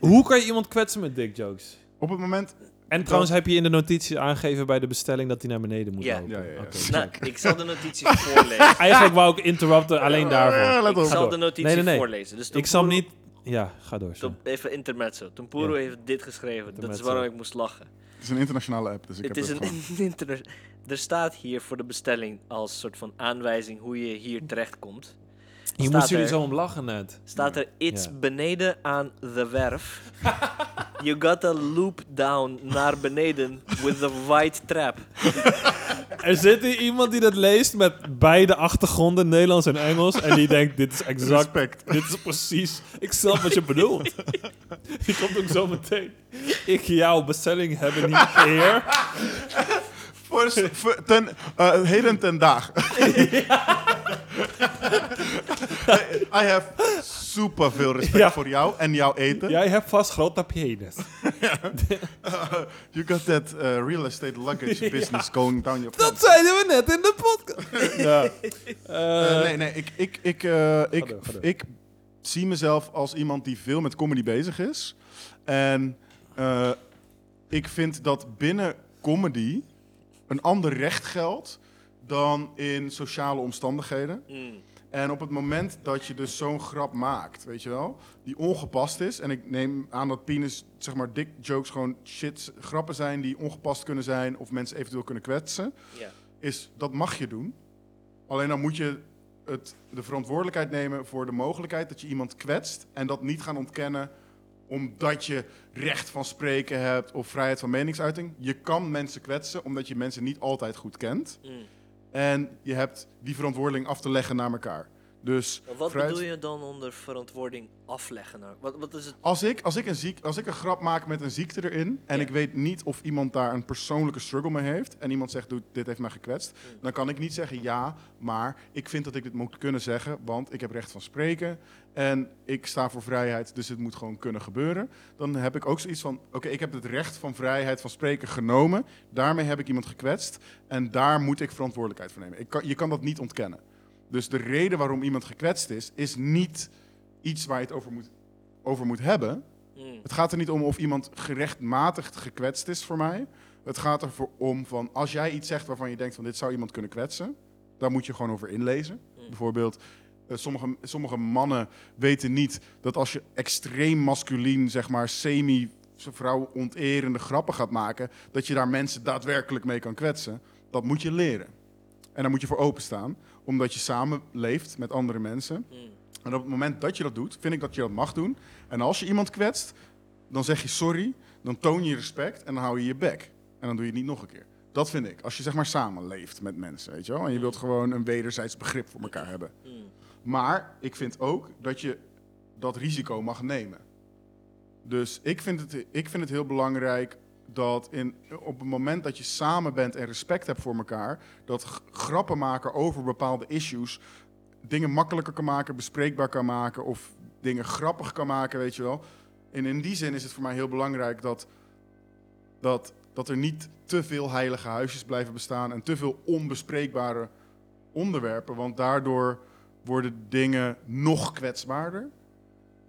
A: hoe kan je iemand kwetsen met dick jokes?
C: Op het moment...
A: En trouwens heb je in de notitie aangegeven bij de bestelling dat hij naar beneden moet
B: Ja.
A: lopen.
C: Ja, ja, ja.
A: Oké.
B: Nou, ik zal de notities voorlezen.
A: Eigenlijk wou ik interrupten alleen
C: Eh,
A: daarvoor.
C: let
B: Ik
C: op.
B: zal de
A: Nee,
B: notities
A: nee, nee.
B: voorlezen. Dus
A: Ik snap
B: Tompuru-
A: niet... Ja, ga door. sorry.
B: Tom- even intermezzo. Tompuru
A: Ja.
B: heeft dit geschreven. Dat
A: Intermezzo.
B: is waarom ik moest lachen.
C: Het is een internationale app, dus ik
B: Het
C: heb
B: is
C: het
B: een
C: gewoon...
B: internet. Er staat hier voor de bestelling als soort van aanwijzing hoe je hier terechtkomt.
A: Hier
B: Staat
A: moesten jullie
B: er.
A: zo om lachen net.
B: Staat er iets
A: Ja.
B: beneden aan de werf. you gotta loop down naar beneden with the white trap.
A: Er zit hier iemand die dat leest met beide achtergronden, Nederlands en Engels. En die denkt, dit is exact...
C: Respect.
A: Dit is precies... Ik snap wat je bedoelt. Die komt ook zo meteen. Ik jouw bestelling hebben niet eer.
C: Voor, voor- ten, eh, heden ten dag. I have super veel respect
A: Ja.
C: voor jou en jouw eten.
A: Jij hebt vast grote penis.
C: You got that eh, real estate luggage business going down your...
A: Dat zeiden we net in de podcast. Ja.
C: Eh, nee, nee, ik, ik, ik, eh, ik,
A: door, ga door.
C: ik zie mezelf als iemand die veel met comedy bezig is. En eh, ik vind dat binnen comedy een ander recht geldt dan in sociale omstandigheden.
B: Mm.
C: En op het moment dat je dus zo'n grap maakt, weet je wel, die ongepast is. En ik neem aan dat penis, zeg maar, dick jokes gewoon shit, grappen zijn die ongepast kunnen zijn of mensen eventueel kunnen kwetsen.
B: Ja.
C: Is dat mag je doen. Alleen dan moet je het, de verantwoordelijkheid nemen voor de mogelijkheid dat je iemand kwetst. En dat niet gaan ontkennen omdat je recht van spreken hebt of vrijheid van meningsuiting. Je kan mensen kwetsen omdat je mensen niet altijd goed kent.
B: Mm.
C: En je hebt die verantwoording af te leggen naar elkaar. Dus
B: Wat
C: vooruit.
B: bedoel je dan onder verantwoording afleggen? Nou? Wat, wat is het?
C: Als ik, als, ik een ziek, als ik een grap maak met een ziekte erin en ik weet niet of iemand daar een persoonlijke struggle mee heeft en iemand zegt, "Doe, dit heeft mij gekwetst, dan kan ik niet zeggen ja, maar ik vind dat ik dit moet kunnen zeggen, want ik heb recht van spreken en ik sta voor vrijheid, dus het moet gewoon kunnen gebeuren. Dan heb ik ook zoiets van, oké, ik heb het recht van vrijheid van spreken genomen, daarmee heb ik iemand gekwetst en daar moet ik verantwoordelijkheid voor nemen. Ik kan, je kan dat niet ontkennen. Dus de reden waarom iemand gekwetst is, is niet iets waar je het over moet over moet hebben.
B: Hmm.
C: Het gaat er niet om of iemand gerechtmatigd gekwetst is voor mij. Het gaat ervoor om van als jij iets zegt waarvan je denkt van dit zou iemand kunnen kwetsen, daar moet je gewoon over inlezen. Bijvoorbeeld, eh, sommige, sommige mannen weten niet dat als je extreem masculien, zeg maar, semi vrouw onterende grappen gaat maken, dat je daar mensen daadwerkelijk mee kan kwetsen. Dat moet je leren. En daar moet je voor openstaan, omdat je samen leeft met andere mensen. En op het moment dat je dat doet, vind ik dat je dat mag doen. En als je iemand kwetst, dan zeg je sorry, dan toon je respect en dan hou je je bek. En dan doe je het niet nog een keer. Dat vind ik. Als je zeg maar samenleeft met mensen, weet je wel. En je wilt gewoon een wederzijds begrip voor elkaar hebben. Maar ik vind ook dat je dat risico mag nemen. Dus ik vind het, ik vind het heel belangrijk dat in, op het moment dat je samen bent en respect hebt voor elkaar, dat g- grappen maken over bepaalde issues dingen makkelijker kan maken, bespreekbaar kan maken of dingen grappig kan maken, weet je wel. En in die zin is het voor mij heel belangrijk dat, dat, dat er niet te veel heilige huisjes blijven bestaan en te veel onbespreekbare onderwerpen, want daardoor worden dingen nog kwetsbaarder.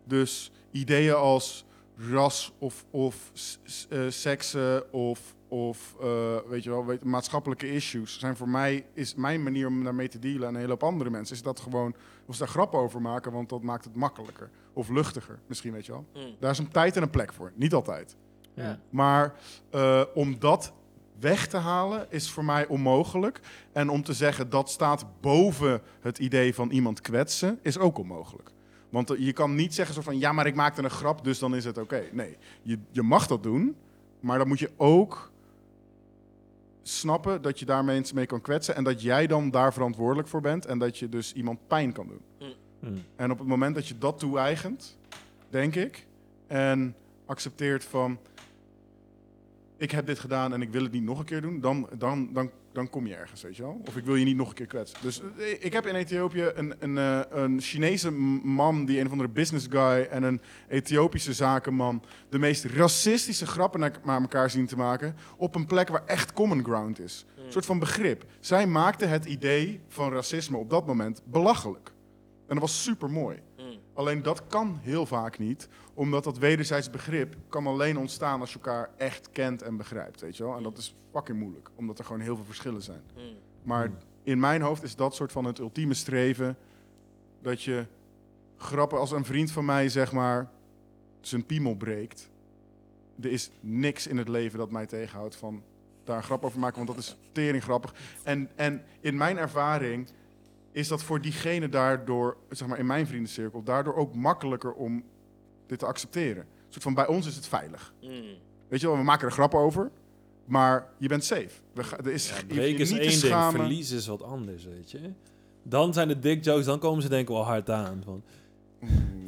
C: Dus ideeën als ras of, of s- s- eh, seksen of, of eh, weet je wel, weet, maatschappelijke issues zijn voor mij, is mijn manier om daarmee te dealen en een hele hoop andere mensen, is dat gewoon, of ze daar grappen over maken, want dat maakt het makkelijker of luchtiger misschien, weet je wel.
B: Mm.
C: Daar is een tijd en een plek voor, niet altijd.
A: Ja.
C: Maar eh, om dat weg te halen is voor mij onmogelijk. En om te zeggen dat staat boven het idee van iemand kwetsen, is ook onmogelijk. Want eh, je kan niet zeggen zo van ja, maar ik maakte een grap, dus dan is het oké. Nee, je, je mag dat doen, maar dan moet je ook snappen dat je daar mensen mee kan kwetsen en dat jij dan daar verantwoordelijk voor bent en dat je dus iemand pijn kan doen.
A: Hmm.
C: En op het moment dat je dat toe-eigent, denk ik, en accepteert van ik heb dit gedaan en ik wil het niet nog een keer doen, dan, dan, dan, dan kom je ergens, weet je wel. Of ik wil je niet nog een keer kwetsen. Dus eh, ik heb in Ethiopië een, een, eh, een Chinese m- man, die een of andere business guy en een Ethiopische zakenman, de meest racistische grappen naar naar elkaar zien te maken op een plek waar echt common ground is. Een soort van begrip. Zij maakte het idee van racisme op dat moment belachelijk. En dat was super mooi.
B: mm,
C: Alleen dat kan heel vaak niet, omdat dat wederzijds begrip kan alleen ontstaan als je elkaar echt kent en begrijpt, weet je wel? En dat is fucking moeilijk, omdat er gewoon heel veel verschillen zijn.
B: mm,
C: Maar
A: Hmm.
C: in mijn hoofd is dat soort van het ultieme streven dat je grappen als een vriend van mij zeg maar zijn piemel breekt. Er is niks in het leven dat mij tegenhoudt van daar een grap over maken, want dat is tering grappig. En, en in mijn ervaring is dat voor diegene daardoor, zeg maar in mijn vriendencirkel, daardoor ook makkelijker om dit te accepteren. Een soort van bij ons is het veilig.
B: Mm.
C: Weet je wel, we maken er grappen over, maar je bent safe. We ga, er is, je hoeft je
A: Breken is
C: niet te
A: één ding,
C: schamen.
A: verliezen is wat anders, weet je. Dan zijn de dick jokes, dan komen ze denk ik wel hard aan. Van,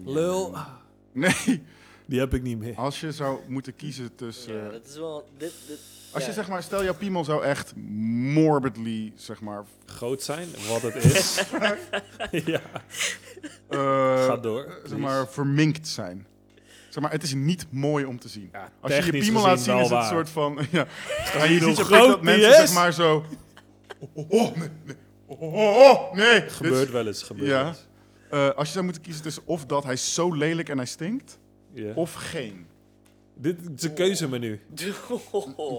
A: lul, ah,
C: Mm, Nee,
A: die heb ik niet meer.
C: als je zou moeten kiezen tussen...
B: Ja, dat is wel. Dit, dit,
C: Als je
B: ja.
C: zeg maar, stel jouw piemel zou echt morbidly, zeg maar...
A: Groot zijn, wat het is. ja,
C: eh,
A: ga door.
C: zeg maar, verminkt zijn. Zeg maar, het is niet mooi om te zien.
A: Ja,
C: Als je je
A: technisch
C: piemel
A: gezien
C: laat zien,
A: wel
C: is het een
A: waar.
C: soort van... Ja, ja, je
A: hoe
C: ziet je pik
A: groot
C: dat
A: die
C: mensen
A: is?
C: zeg maar zo... Oh, oh, oh, nee, nee. Oh, oh, oh, nee. Dit is-
A: Gebeurt wel eens, gebeurt
C: Ja.
A: wel eens.
C: Eh, als je zou moeten kiezen tussen of dat hij is zo lelijk en hij stinkt,
A: Ja.
C: of geen.
A: Dit is een keuzemenu.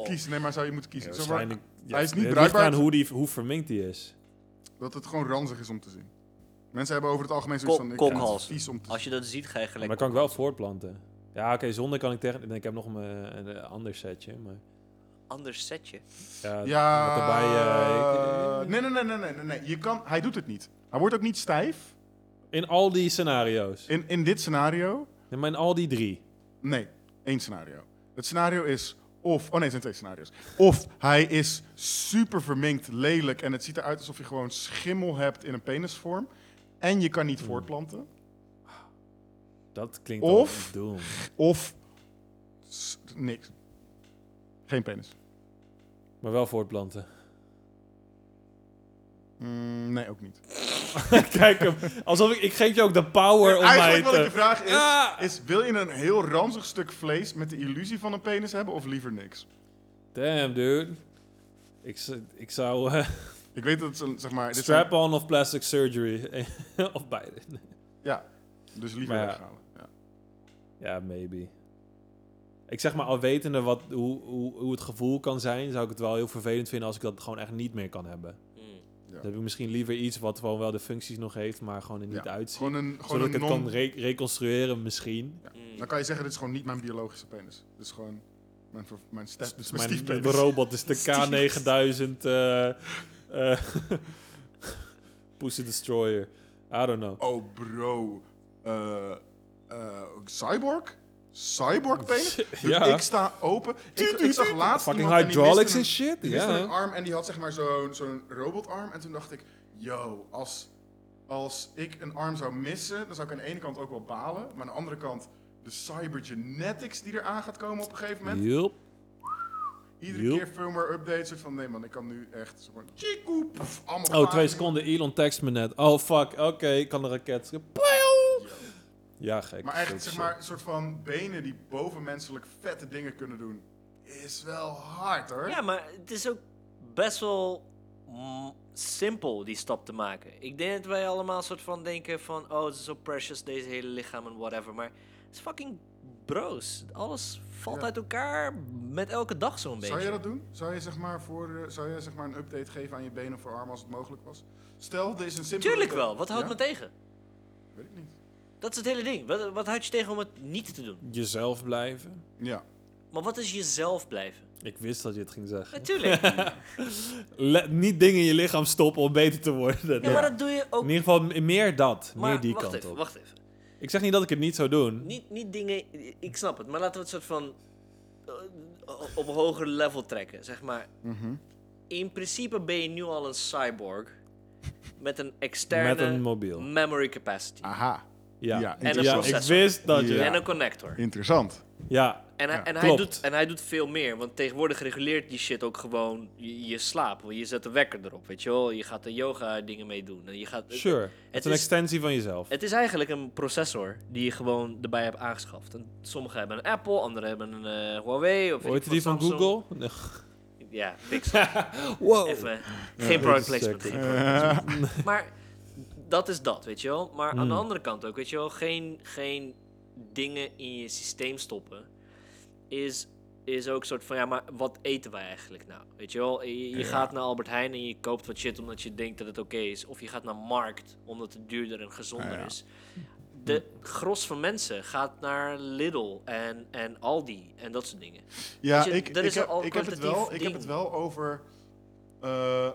C: Kies, nee, maar zou je moeten kiezen.
A: Oh. Ja,
C: Zeg maar,
A: waarschijnlijk- ja,
C: hij is niet
A: het ligt
C: bruikbaar.
A: eraan hoe, die, hoe verminkt die is.
C: dat het gewoon ranzig is om te zien. Mensen hebben over het algemeen zoiets
B: Kok-
C: van... ik vind het
B: kokhals.
C: vies om te
B: Als je dat ziet, ga je
A: Maar
B: gelijk.
A: dan kan ik wel voortplanten. Ja, oké, zonder kan ik tegen... Ik heb nog een, eh, een, eh, ander setje, maar...
B: Anders setje.
A: Ja,
C: Ja.
A: wat erbij, eh, ik-
C: nee, nee, nee, nee, nee, nee, nee. Je kan, hij doet het niet. Hij wordt ook niet stijf.
A: in al die scenario's.
C: In, in dit scenario,
A: Nee, maar in al die drie.
C: nee, één scenario. Het scenario is of, oh nee, het zijn twee scenario's. Of hij is super verminkt, lelijk en het ziet eruit alsof je gewoon schimmel hebt in een penisvorm. en je kan niet
A: Hmm.
C: voortplanten.
A: Dat klinkt
C: Of-
A: al doom.
C: Of s- niks. Geen penis.
A: Maar wel voortplanten.
C: Mm, nee, ook niet.
A: Kijk hem. Alsof ik, ik geef je ook de power om mij
C: Eigenlijk wat ik je
A: te...
C: vraag is,
A: Ah!
C: is... Wil je een heel ranzig stuk vlees met de illusie van een penis hebben of liever niks?
A: Damn, dude. Ik, z- ik zou eh,
C: Ik weet dat ze, zeg maar... dit zijn-
A: strap-on of plastic surgery. of beide.
C: Ja, dus liever
A: Maar ja.
C: weghalen. Ja.
A: Ja, maybe. Ik zeg maar, al wetende wat, hoe, hoe, hoe het gevoel kan zijn, zou ik het wel heel vervelend vinden als ik dat gewoon echt niet meer kan hebben.
B: Mm,
A: Dan heb ik misschien liever iets wat gewoon wel de functies nog heeft, maar gewoon er niet
C: Ja.
A: uitziet.
C: Gewoon een, gewoon
A: zodat ik
C: een
A: het
C: non...
A: kan re- reconstrueren, misschien.
B: mm.
C: Dan kan je zeggen, dit is gewoon niet mijn biologische penis. Dit is gewoon mijn, ver- mijn, step,
A: Dus
C: mijn
A: mijn
C: stiefpenis.
A: de robot is de K9000 eh, eh, Pussy Destroyer. I don't know.
C: Oh, bro. Eh, eh, cyborg? Cyborg penis? Dus
A: Ja.
C: ik sta open. Ik, ik zag laatst
A: Fucking
C: iemand en die
A: hydraulics
C: miste
A: en
C: een-
A: shit.
C: Die miste een
A: Ja.
C: arm en die had zeg maar zo'n zo'n robotarm. En toen dacht ik, yo, als, als ik een arm zou missen, dan zou ik aan de ene kant ook wel balen. Maar aan de andere kant, de cybergenetics die eraan gaat komen op een gegeven moment.
A: Yup.
C: Iedere
A: Joep.
C: keer firmware updates, soort van, nee man, ik kan nu echt zo van, tjiekoe, poef, allemaal
A: Oh, twee
C: pagina's.
A: seconden. Elon text me net. Oh, fuck. Oké, ik kan een raket. schieten. Plow! Ja, gek.
C: Maar echt,
A: Shit,
C: zeg
A: shit.
C: maar, een soort van benen die bovenmenselijk vette dingen kunnen doen, is wel hard hoor.
B: Ja, maar het is ook best wel mm, simpel die stap te maken. Ik denk dat wij allemaal soort van denken van... Oh, het is zo precious, deze hele lichaam en whatever. Maar het is fucking broos. Alles valt
C: Ja.
B: uit elkaar met elke dag zo'n beetje.
C: Zou je dat doen? Zou je, zeg maar, voor, eh, zou je zeg maar, een update geven aan je benen of voor armen als het mogelijk was? Stel, er is een simpele...
B: Tuurlijk wel, wat houdt
C: Ja?
B: me tegen?
C: Weet ik niet.
B: Dat is het hele ding. Wat, wat houdt je tegen om het niet te doen?
A: Jezelf blijven.
C: Ja.
B: Maar wat is jezelf blijven?
A: Ik wist dat je het ging zeggen.
B: Natuurlijk. Ja,
A: Le- niet dingen in je lichaam stoppen om beter te worden.
B: maar dat doe je ook...
A: In ieder geval m- meer dat. meer
B: Maar
A: die
B: wacht
A: kant
B: even,
A: op.
B: wacht even.
A: Ik zeg niet dat ik het niet zou doen.
B: Niet, niet dingen, ik snap het, maar laten we het soort van eh, op een hoger level trekken, zeg maar. In principe ben je nu al een cyborg met een externe
A: Met een mobiel.
B: memory capacity
C: Aha.
A: Ja,
C: Ja,
A: ja,
B: en een
A: ik
B: processor.
A: wist dat je...
C: Ja.
B: en een connector.
C: Interessant.
A: Ja,
B: En, hij,
C: Ja,
B: en, hij
A: klopt.
B: doet, en hij doet veel meer, want tegenwoordig reguleert die shit ook gewoon je, je slaap. Je zet de wekker erop, weet je wel. Je gaat de yoga dingen mee doen. En je gaat,
A: sure. Dus Het, is een
B: is-
A: extensie van jezelf.
B: Het is eigenlijk een processor die je gewoon erbij hebt aangeschaft. En sommigen hebben een Apple, anderen hebben een eh, Huawei. Of weet
A: Hoort
B: ik
A: je die
B: wat,
A: van
B: Samsung.
A: Google? Nee.
B: Ja, Pixel.
A: Wow.
B: Even. geen product placement.
A: checken.
B: geen product
A: Eh,
B: placement. maar dat is dat, weet je wel. Maar aan de andere kant ook, weet je wel. Geen, geen dingen in je systeem stoppen is, is ook soort van, ja, maar wat eten wij eigenlijk nou? Weet je wel, je, je gaat naar Albert Heijn en je koopt wat shit omdat je denkt dat het oké is. Of je gaat naar Markt omdat het duurder en gezonder is. De gros van mensen gaat naar Lidl en, en Aldi en dat soort dingen.
C: Ja,
B: Weet Dus je,
C: ik,
B: dat
C: ik,
B: is een
C: heb, ik, heb het wel,
B: kwalitatief
C: ik heb
B: ding.
C: het wel over. eh,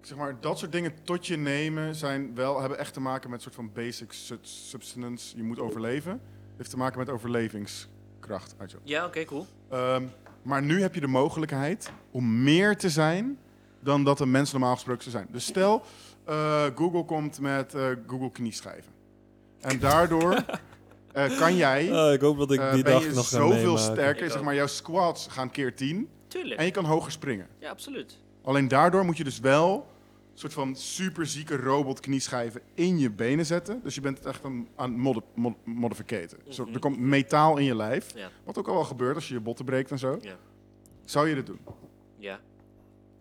C: zeg maar, dat soort dingen tot je nemen zijn wel, hebben echt te maken met een soort van basic su- substance. Je moet overleven. Heeft te maken met overlevingskracht. Uit je.
B: Ja, oké, cool.
C: Ehm, maar nu heb je de mogelijkheid om meer te zijn dan dat een mens normaal gesproken zou zijn. Dus stel, eh, Google komt met eh, Google knieschijven. En daardoor eh, kan jij
A: Ah, ik hoop dat ik
C: eh,
A: die
C: ben
A: dag
C: je
A: nog ga
C: zoveel
A: meemaken.
C: sterker.
B: Ik
C: Zeg
B: ook.
C: maar, jouw squats gaan keer 10
B: Tuurlijk.
C: en je kan hoger springen.
B: Ja, absoluut.
C: Alleen daardoor moet je dus wel een soort van superzieke robot knieschijven in je benen zetten. Dus je bent het echt aan, aan het mod mod modificaten. Zo, er komt metaal in je lijf.
B: Mhm. Ja.
C: Wat ook al wel gebeurt als je je botten breekt en zo.
B: Ja.
C: Zou je dit doen?
B: Ja.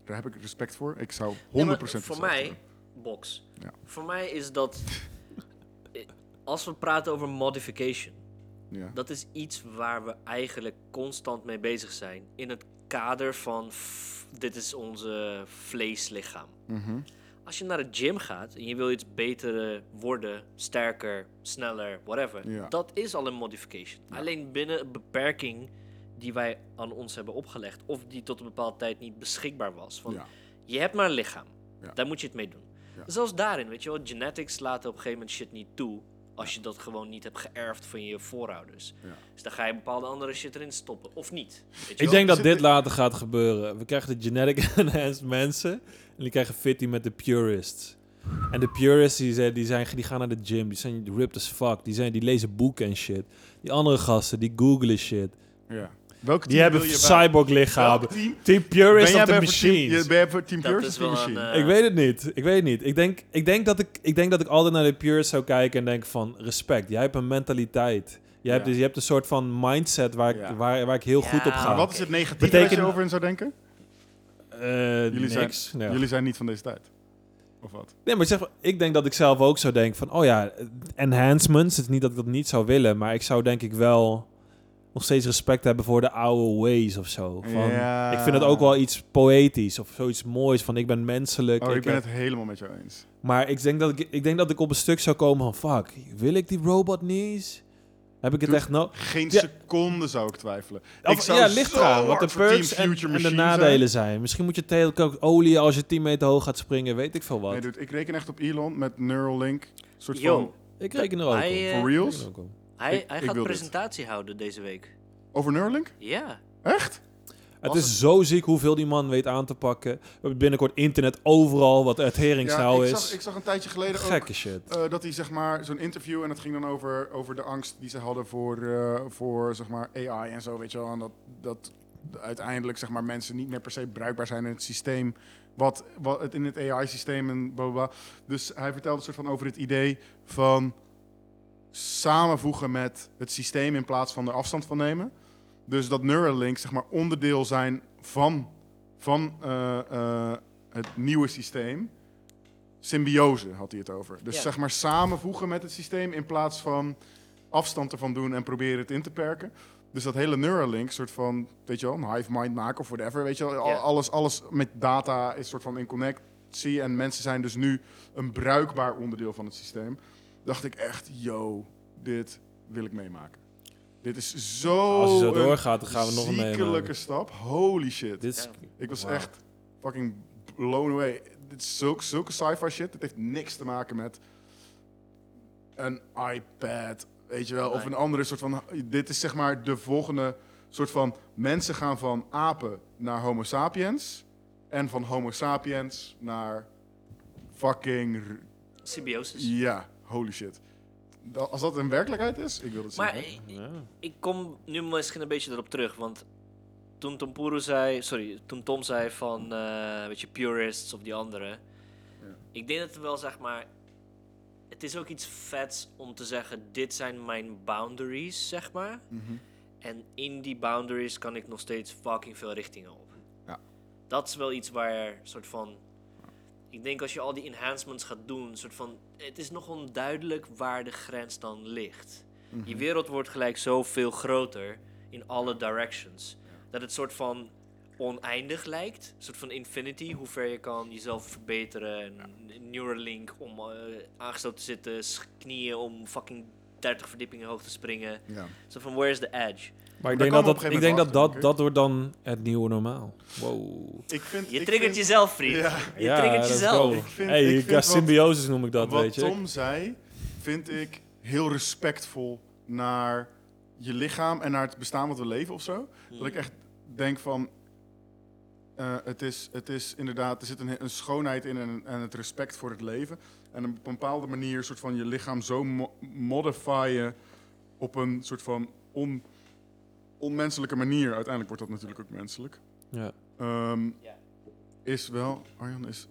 C: Daar heb ik respect voor. Ik zou 100%
B: Nee, maar
C: hetzelfde
B: Voor mij,
C: doen.
B: box.
C: Ja.
B: Voor mij is dat. eh, Als we praten over modification,
C: Ja.
B: dat is iets waar we eigenlijk constant mee bezig zijn. In het kader van f- dit is onze vleeslichaam.
C: Mhm.
B: Als je naar de gym gaat en je wil iets beter eh, worden, sterker, sneller, whatever,
C: Ja.
B: dat is al een modification. Alleen binnen een beperking die wij aan ons hebben opgelegd, of die tot een bepaalde tijd niet beschikbaar was. Want
C: Ja.
B: je hebt maar een lichaam.
C: Ja.
B: Daar moet je het mee doen.
C: Ja.
B: Zelfs daarin, weet je wel, genetics laten op een gegeven moment shit niet toe. Als je dat gewoon niet hebt geërfd van je voorouders.
C: Ja.
B: Dus dan ga je bepaalde andere shit erin stoppen. Of niet. Weet je
A: Ik
B: wel?
A: denk dat
C: Zit-
A: dit later gaat gebeuren. We krijgen de genetic enhanced mensen. En die krijgen fitty met de purists. En de purists die, zijn- die, zijn, die gaan naar de gym, die zijn ripped as fuck, die, zijn, die lezen boeken en shit. Die andere gasten, die googlen shit.
C: Ja. Welke
A: Die hebben
C: wil je bij-
A: cyborg lichamen.
C: Welk team?
A: Team
C: Ben
A: purists
C: jij
A: of the
C: bij voor team,
A: machines.
C: je- ben jij voor Team
B: Dat
C: Purist of
B: is
C: Team
B: wel een,
C: Machine?
B: eh,
A: ik weet het niet. Ik weet het niet. Ik denk, ik denk, dat, ik, ik denk dat ik altijd naar de purists zou kijken en denk van respect. Jij hebt een mentaliteit. Jij hebt,
C: Ja.
A: dus, je hebt een soort van mindset waar ik,
C: Ja.
A: waar, waar ik heel
B: Ja,
A: goed op
C: Maar
A: ga.
C: wat is het negatieve
A: Ah.
C: dat
A: Betekent-
C: je over in zou denken?
A: Eh,
C: Jullie zijn-
A: niks. Ja.
C: Jullie zijn niet van deze tijd. Of wat?
A: Nee, maar ik, zeg, maar, ik denk dat ik zelf ook zou denken van, oh ja, enhancements. Het is niet dat ik dat niet zou willen, maar ik zou denk ik wel nog steeds respect hebben voor de oude ways of zo. Van,
C: Ja.
A: Ik vind dat ook wel iets poëtisch of zoiets moois van ik eh, ben menselijk.
C: Oh, ik, ben
A: heb-
C: het helemaal met jou eens.
A: Maar ik denk, dat ik, ik denk dat ik op een stuk zou komen van, fuck, wil ik die robot knees? Heb ik het
C: Doe-
A: echt nodig?
C: Geen
A: Ja.
C: seconde zou ik twijfelen. ik
A: Of-
C: zou
A: Ja, ligt
C: zo
A: eraan wat
C: hard
A: de
C: voor Team
A: perks en,
C: Future
A: en de
C: Machine
A: nadelen zijn. Misschien moet je telkens ook olie als je 10 meter hoog gaat springen, weet ik veel wat.
C: Nee, dude, ik reken echt op Elon met Neuralink. Soort
B: Yo,
A: ik reken er ook
B: Hij,
A: op.
B: eh,
A: Ik
C: van
B: Ja.
C: for
A: reken
C: reals.
A: er ook op.
B: hij,
C: Ik-
B: hij
C: ik
B: gaat
C: wil dit.
B: presentatie houden deze week.
C: Over Neuralink?
B: Ja.
C: Echt?
A: Het
C: Was
A: is zo ziek hoeveel die man weet aan te pakken. We hebben binnenkort internet overal, wat het heringsnauw
C: ik,
A: is.
C: zag, ik zag een tijdje geleden ook
A: Gekke shit.
C: eh, dat hij zeg maar zo'n interview en dat ging dan over, over de angst die ze hadden voor, eh, voor zeg maar AI en zo, weet je wel. En dat, dat uiteindelijk zeg maar mensen niet meer per se bruikbaar zijn in het systeem. Wat, wat het in het AI-systeem en bla bla. bla. Dus hij vertelde een soort van over het idee van samenvoegen met het systeem in plaats van er afstand van nemen. Dus dat Neuralink zeg maar onderdeel zijn van, van eh, eh, het nieuwe systeem. Symbiose had hij het over. Dus
B: Ja.
C: zeg maar samenvoegen met het systeem in plaats van afstand ervan doen en proberen het in te perken. Dus dat hele Neuralink, soort van, weet je wel, een hive mind maken of whatever, weet je wel. Al-
B: Ja.
C: Alles, alles met data is soort van in connectie en mensen zijn dus nu een bruikbaar onderdeel van het systeem. Dacht ik echt, yo, dit wil ik meemaken. Dit is zo
A: Als het zo
C: oh, een
A: doorgaat, dan gaan we nog een
C: ziekelijke
A: meemaken.
C: stap. Holy shit.
A: Dit is-
C: ik was
A: Wauw.
C: echt fucking blown away. Dit is zulke, zulke sci-fi shit. Het heeft niks te maken met een iPad, weet je wel, of een andere soort van. Dit is zeg maar de volgende soort van mensen gaan van apen naar Homo sapiens en van Homo sapiens naar fucking r-
B: Symbiosis.
C: ja, holy shit. Da- Als dat een werkelijkheid is, ik wil het zien.
B: Maar ik, ik kom nu misschien een beetje erop terug, want toen Tom Puro zei, sorry, toen Tom zei van, eh weet je, purists of die anderen. Ik denk dat het wel zeg maar, het is ook iets vets om te zeggen, dit zijn mijn boundaries, zeg maar.
C: Mhm.
B: En in die boundaries kan ik nog steeds fucking veel richtingen op.
C: Ja.
B: Dat is wel iets waar soort van, ik denk als je al die enhancements gaat doen, soort van, het is nog onduidelijk waar de grens dan ligt. Je wereld wordt gelijk zoveel groter in alle directions. Dat het soort van oneindig lijkt. Een soort van infinity, hoe ver je kan jezelf verbeteren. En Neuralink om eh, aangesloten te zitten. s- Knieën om fucking 30 verdiepingen hoog te springen.
C: Ja.
B: Zo van, where's the edge?
A: Maar ik
C: Daar
A: denk
C: komen
A: dat,
C: we
A: dat,
C: op een
A: ik
C: gegeven
A: denk dat,
C: moment
A: dat,
C: achter,
A: dat wordt dan het nieuwe normaal. Wow.
C: Ik vind,
B: Je
C: ik
B: triggert
C: vind
B: jezelf, vriend.
C: Ja.
B: Je triggert
A: let's
B: jezelf.
A: go.
C: Ik vind-
A: hey,
C: ik
A: je
C: vind
A: krijgt
C: wat-
A: symbiosis noem ik dat,
C: wat
A: weet je.
C: Tom zei, vind ik heel respectvol naar je lichaam en naar het bestaan wat we leven of zo. Dat ik echt denk van, eh, het, is, het is inderdaad, er zit een, een schoonheid in en, en het respect voor het leven. En op een bepaalde manier soort van je lichaam zo mo- modifyen op een soort van on, onmenselijke manier. Uiteindelijk wordt dat natuurlijk ook menselijk.
A: Ja.
C: Ehm,
B: Ja.
C: Is wel, Arjan is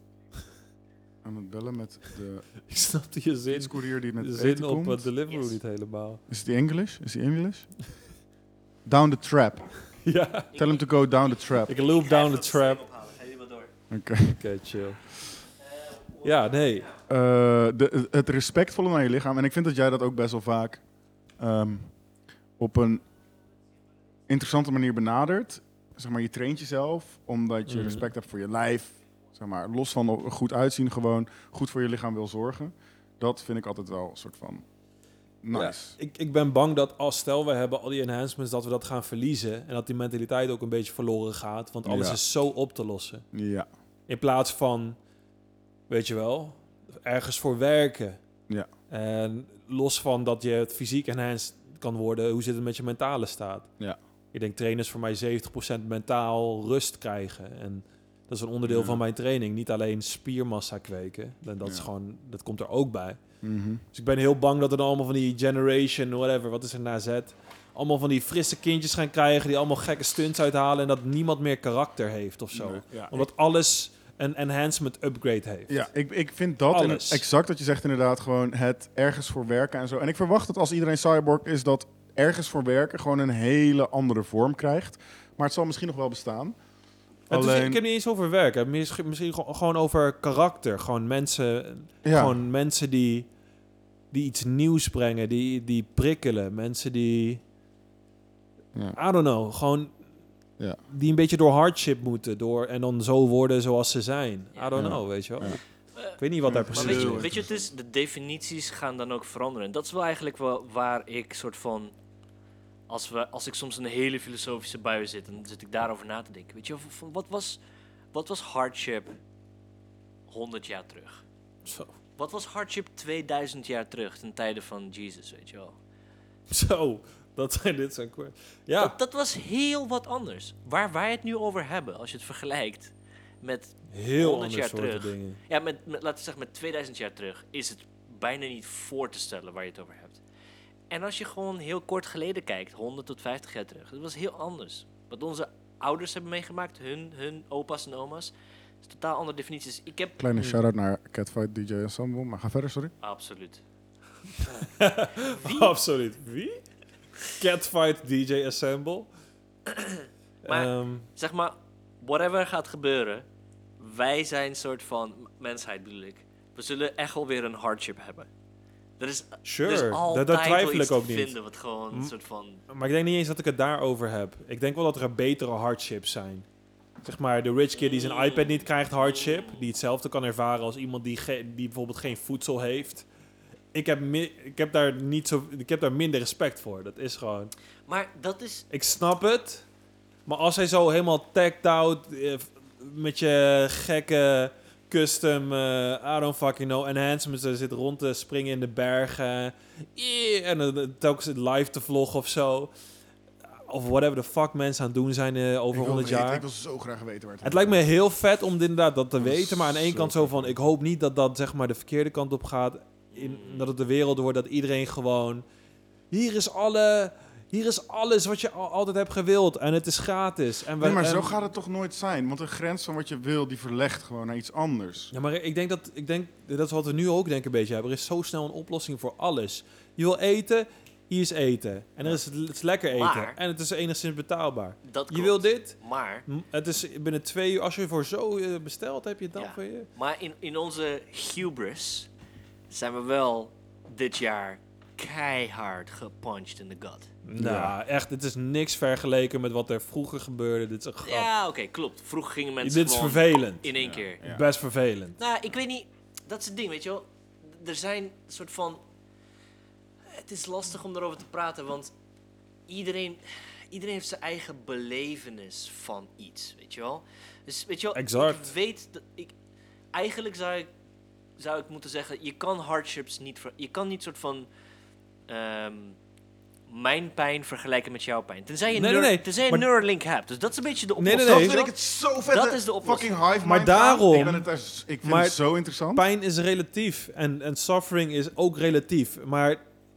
C: aan het bellen met de
A: Ik snapte je zin,
C: fietscourier die met
A: zin
C: eten
A: op
C: komt.
A: het delivery
B: Yes.
A: niet helemaal.
C: Is die English? Is die English? down the trap.
A: ja,
C: Tell him to go down the trap.
A: ik loop
B: Ga even
A: down the
B: dat systeem
A: trap.
B: ophalen. Ga jullie maar door.
C: Oké.
A: Oké, chill. Ja, nee.
C: Eh, de, het respectvolle naar je lichaam. En ik vind dat jij dat ook best wel vaak ehm, op een interessante manier benadert. Zeg maar, je traint jezelf omdat je
A: Mhm.
C: respect hebt voor je lijf. Zeg maar, los van er goed uitzien, gewoon goed voor je lichaam wil zorgen. Dat vind ik altijd wel een soort van nice.
A: Ik, ik ben bang dat als stel we hebben al die enhancements, dat we dat gaan verliezen. En dat die mentaliteit ook een beetje verloren gaat. Want alles
C: Ja.
A: is zo op te lossen.
C: Ja.
A: In plaats van, weet je wel, ergens voor werken.
C: Ja.
A: En los van dat je het fysiek enhanced kan worden, hoe zit het met je mentale staat?
C: Ja.
A: Ik denk trainers voor mij 70% mentaal rust krijgen. En Dat is een onderdeel
C: Ja.
A: van mijn training. Niet alleen spiermassa kweken. En dat, is
C: Ja.
A: gewoon, dat komt er ook bij.
C: Mhm.
A: Dus ik ben heel bang dat er dan allemaal van die generation, whatever, wat is er na Z... Allemaal van die frisse kindjes gaan krijgen die allemaal gekke stunts uithalen... en dat niemand meer karakter heeft of zo.
C: Nee, ja.
A: Omdat alles een enhancement upgrade heeft.
C: Ja, ik, ik vind dat in
A: Alles.
C: exact wat je zegt inderdaad gewoon het ergens voor werken en zo. En ik verwacht dat als iedereen cyborg is, dat ergens voor werken gewoon een hele andere vorm krijgt. Maar het zal misschien nog wel bestaan.
A: En het is-
C: Alleen-
A: ik heb niet eens over werk. hè. Misschien, misschien gewoon gewoon over karakter. Gewoon mensen,
C: Ja.
A: gewoon mensen die, die iets nieuws brengen. Die, die prikkelen. Mensen die...
C: Ja.
A: I don't know, gewoon
C: Ja.
A: die een beetje door hardship moeten door en dan zo worden zoals ze zijn. I don't
C: Ja.
A: know, weet je wel.
C: Ja.
A: Ik weet niet wat daar
B: Maar
A: precies
B: weet je,
A: is.
B: weet je, het is, de definities gaan dan ook veranderen. En dat is wel eigenlijk wel waar ik soort van. Als, we, als ik soms in een hele filosofische bui zit, dan zit ik daarover na te denken. Weet je, van, wat, was, wat was hardship 100 jaar terug?
A: Zo.
B: Wat was hardship 2000 jaar terug, ten tijde van Jesus, weet je wel?
A: Zo, dat zijn dit zijn kort. Ja,
B: Dat, dat was heel wat anders. Waar wij het nu over hebben, als je het vergelijkt met
A: heel
B: 100
A: andere
B: jaar
A: soorten
B: terug.
A: dingen.
B: Ja, met, met, laten we zeggen, met 2000 jaar terug is het bijna niet voor te stellen waar je het over hebt. En als je gewoon heel kort geleden kijkt, 100 tot 50 jaar terug, dat was heel anders. Wat onze ouders hebben meegemaakt, hun, hun opa's en oma's, is totaal andere definities. Ik heb.
C: Kleine
A: Mm.
C: shout-out naar Catfight DJ Ensemble, maar ga verder, sorry.
B: Absoluut.
A: Absoluut. Wie? Catfight DJ Assemble.
B: Maar-
A: Ehm,
B: Zeg maar, whatever gaat gebeuren, wij zijn soort van m- mensheid, bedoel ik. We zullen echt wel weer een hardship hebben. Er is, er is
A: sure,
B: dus altijd
A: daar, daar
B: wel
A: twijfel
B: iets
A: ik ook
B: te
A: niet.
B: vinden wat gewoon een soort van
A: Maar ik denk niet eens dat ik het daarover heb. Ik denk wel dat er betere hardships zijn. Zeg maar, de rich kid die
B: Hmm.
A: zijn iPad niet krijgt, hardship. Die hetzelfde kan ervaren als iemand die, ge- die bijvoorbeeld geen voedsel heeft. Ik heb, mi- ik, heb daar niet zo, ik heb daar minder respect voor. Dat is gewoon.
B: Maar dat is.
A: Ik snap het. Maar als hij zo helemaal tagged out. eh, f- met je gekke custom. eh I don't fucking know. Enhancements. Er zit rond te springen in de bergen. Eh, en dan, eh, telkens live te vloggen of zo. Of whatever the fuck mensen aan het doen zijn eh, over 100 jaar.
C: Ik wil zo graag weten waar het
A: Het lijkt me heel vet om dit inderdaad dat te
C: Dat is
A: weten. Maar aan de ene
C: zo
A: kant zo
C: vet.
A: van... Ik hoop niet dat dat zeg maar de verkeerde kant op gaat. In, dat het de wereld wordt dat iedereen gewoon... Hier is alle... Hier is alles wat je al- altijd hebt gewild. En het is gratis. En we,
C: Nee, maar zo
A: en-
C: gaat het toch nooit zijn? Want de grens van wat je wil, die verlegt gewoon naar iets anders.
A: Ja, maar ik denk dat... Ik denk, dat is wat we nu ook denk ik een beetje hebben. Er is zo snel een oplossing voor alles. Je wil eten... Hier is eten. En er is, het is lekker eten.
B: Maar-
A: en het is enigszins betaalbaar. Je
B: Dat klopt.
A: wil dit...
B: Maar,
A: m- Het is binnen twee uur... Als je voor zo eh, bestelt, heb je het dan
B: Ja.
A: voor je...
B: maar in, in onze hubris zijn we wel dit jaar keihard gepunched in de gut.
A: Nou, echt, het is niks vergeleken met wat er vroeger gebeurde. Dit is een grap.
B: Ja, oké, klopt. Vroeger gingen mensen
A: Dit is
B: gewoon
A: vervelend.
B: in één keer.
C: Ja.
A: Best vervelend.
B: Nou, ik weet niet. Dat is het ding, weet je wel. D- Er zijn soort van... Het is lastig om daarover te praten, want iedereen, iedereen heeft zijn eigen belevenis van iets, weet je wel. Dus weet je wel,
A: Exact.
B: ik weet dat ik... Eigenlijk zou ik, zou ik moeten zeggen, je kan hardships niet... ver- je kan niet soort van... ehm, mijn pijn vergelijken met jouw pijn. Tenzij je,
A: Nee,
B: Neur-
A: nee, nee,
B: tenzij je
A: maar-
B: Neuralink hebt. Dus dat is een beetje de
A: Nee, nee,
B: oplossing.
A: nee.
C: Dat vind ik het zo vet.
B: Dat
C: hè?
B: is de oplossing.
C: Fucking hive
A: Maar
C: mind aan.
A: daarom-
C: Ik, ben het, daar- ik vind
A: Maar-
C: het zo interessant.
A: Pijn is relatief en, en suffering is ook relatief. Maar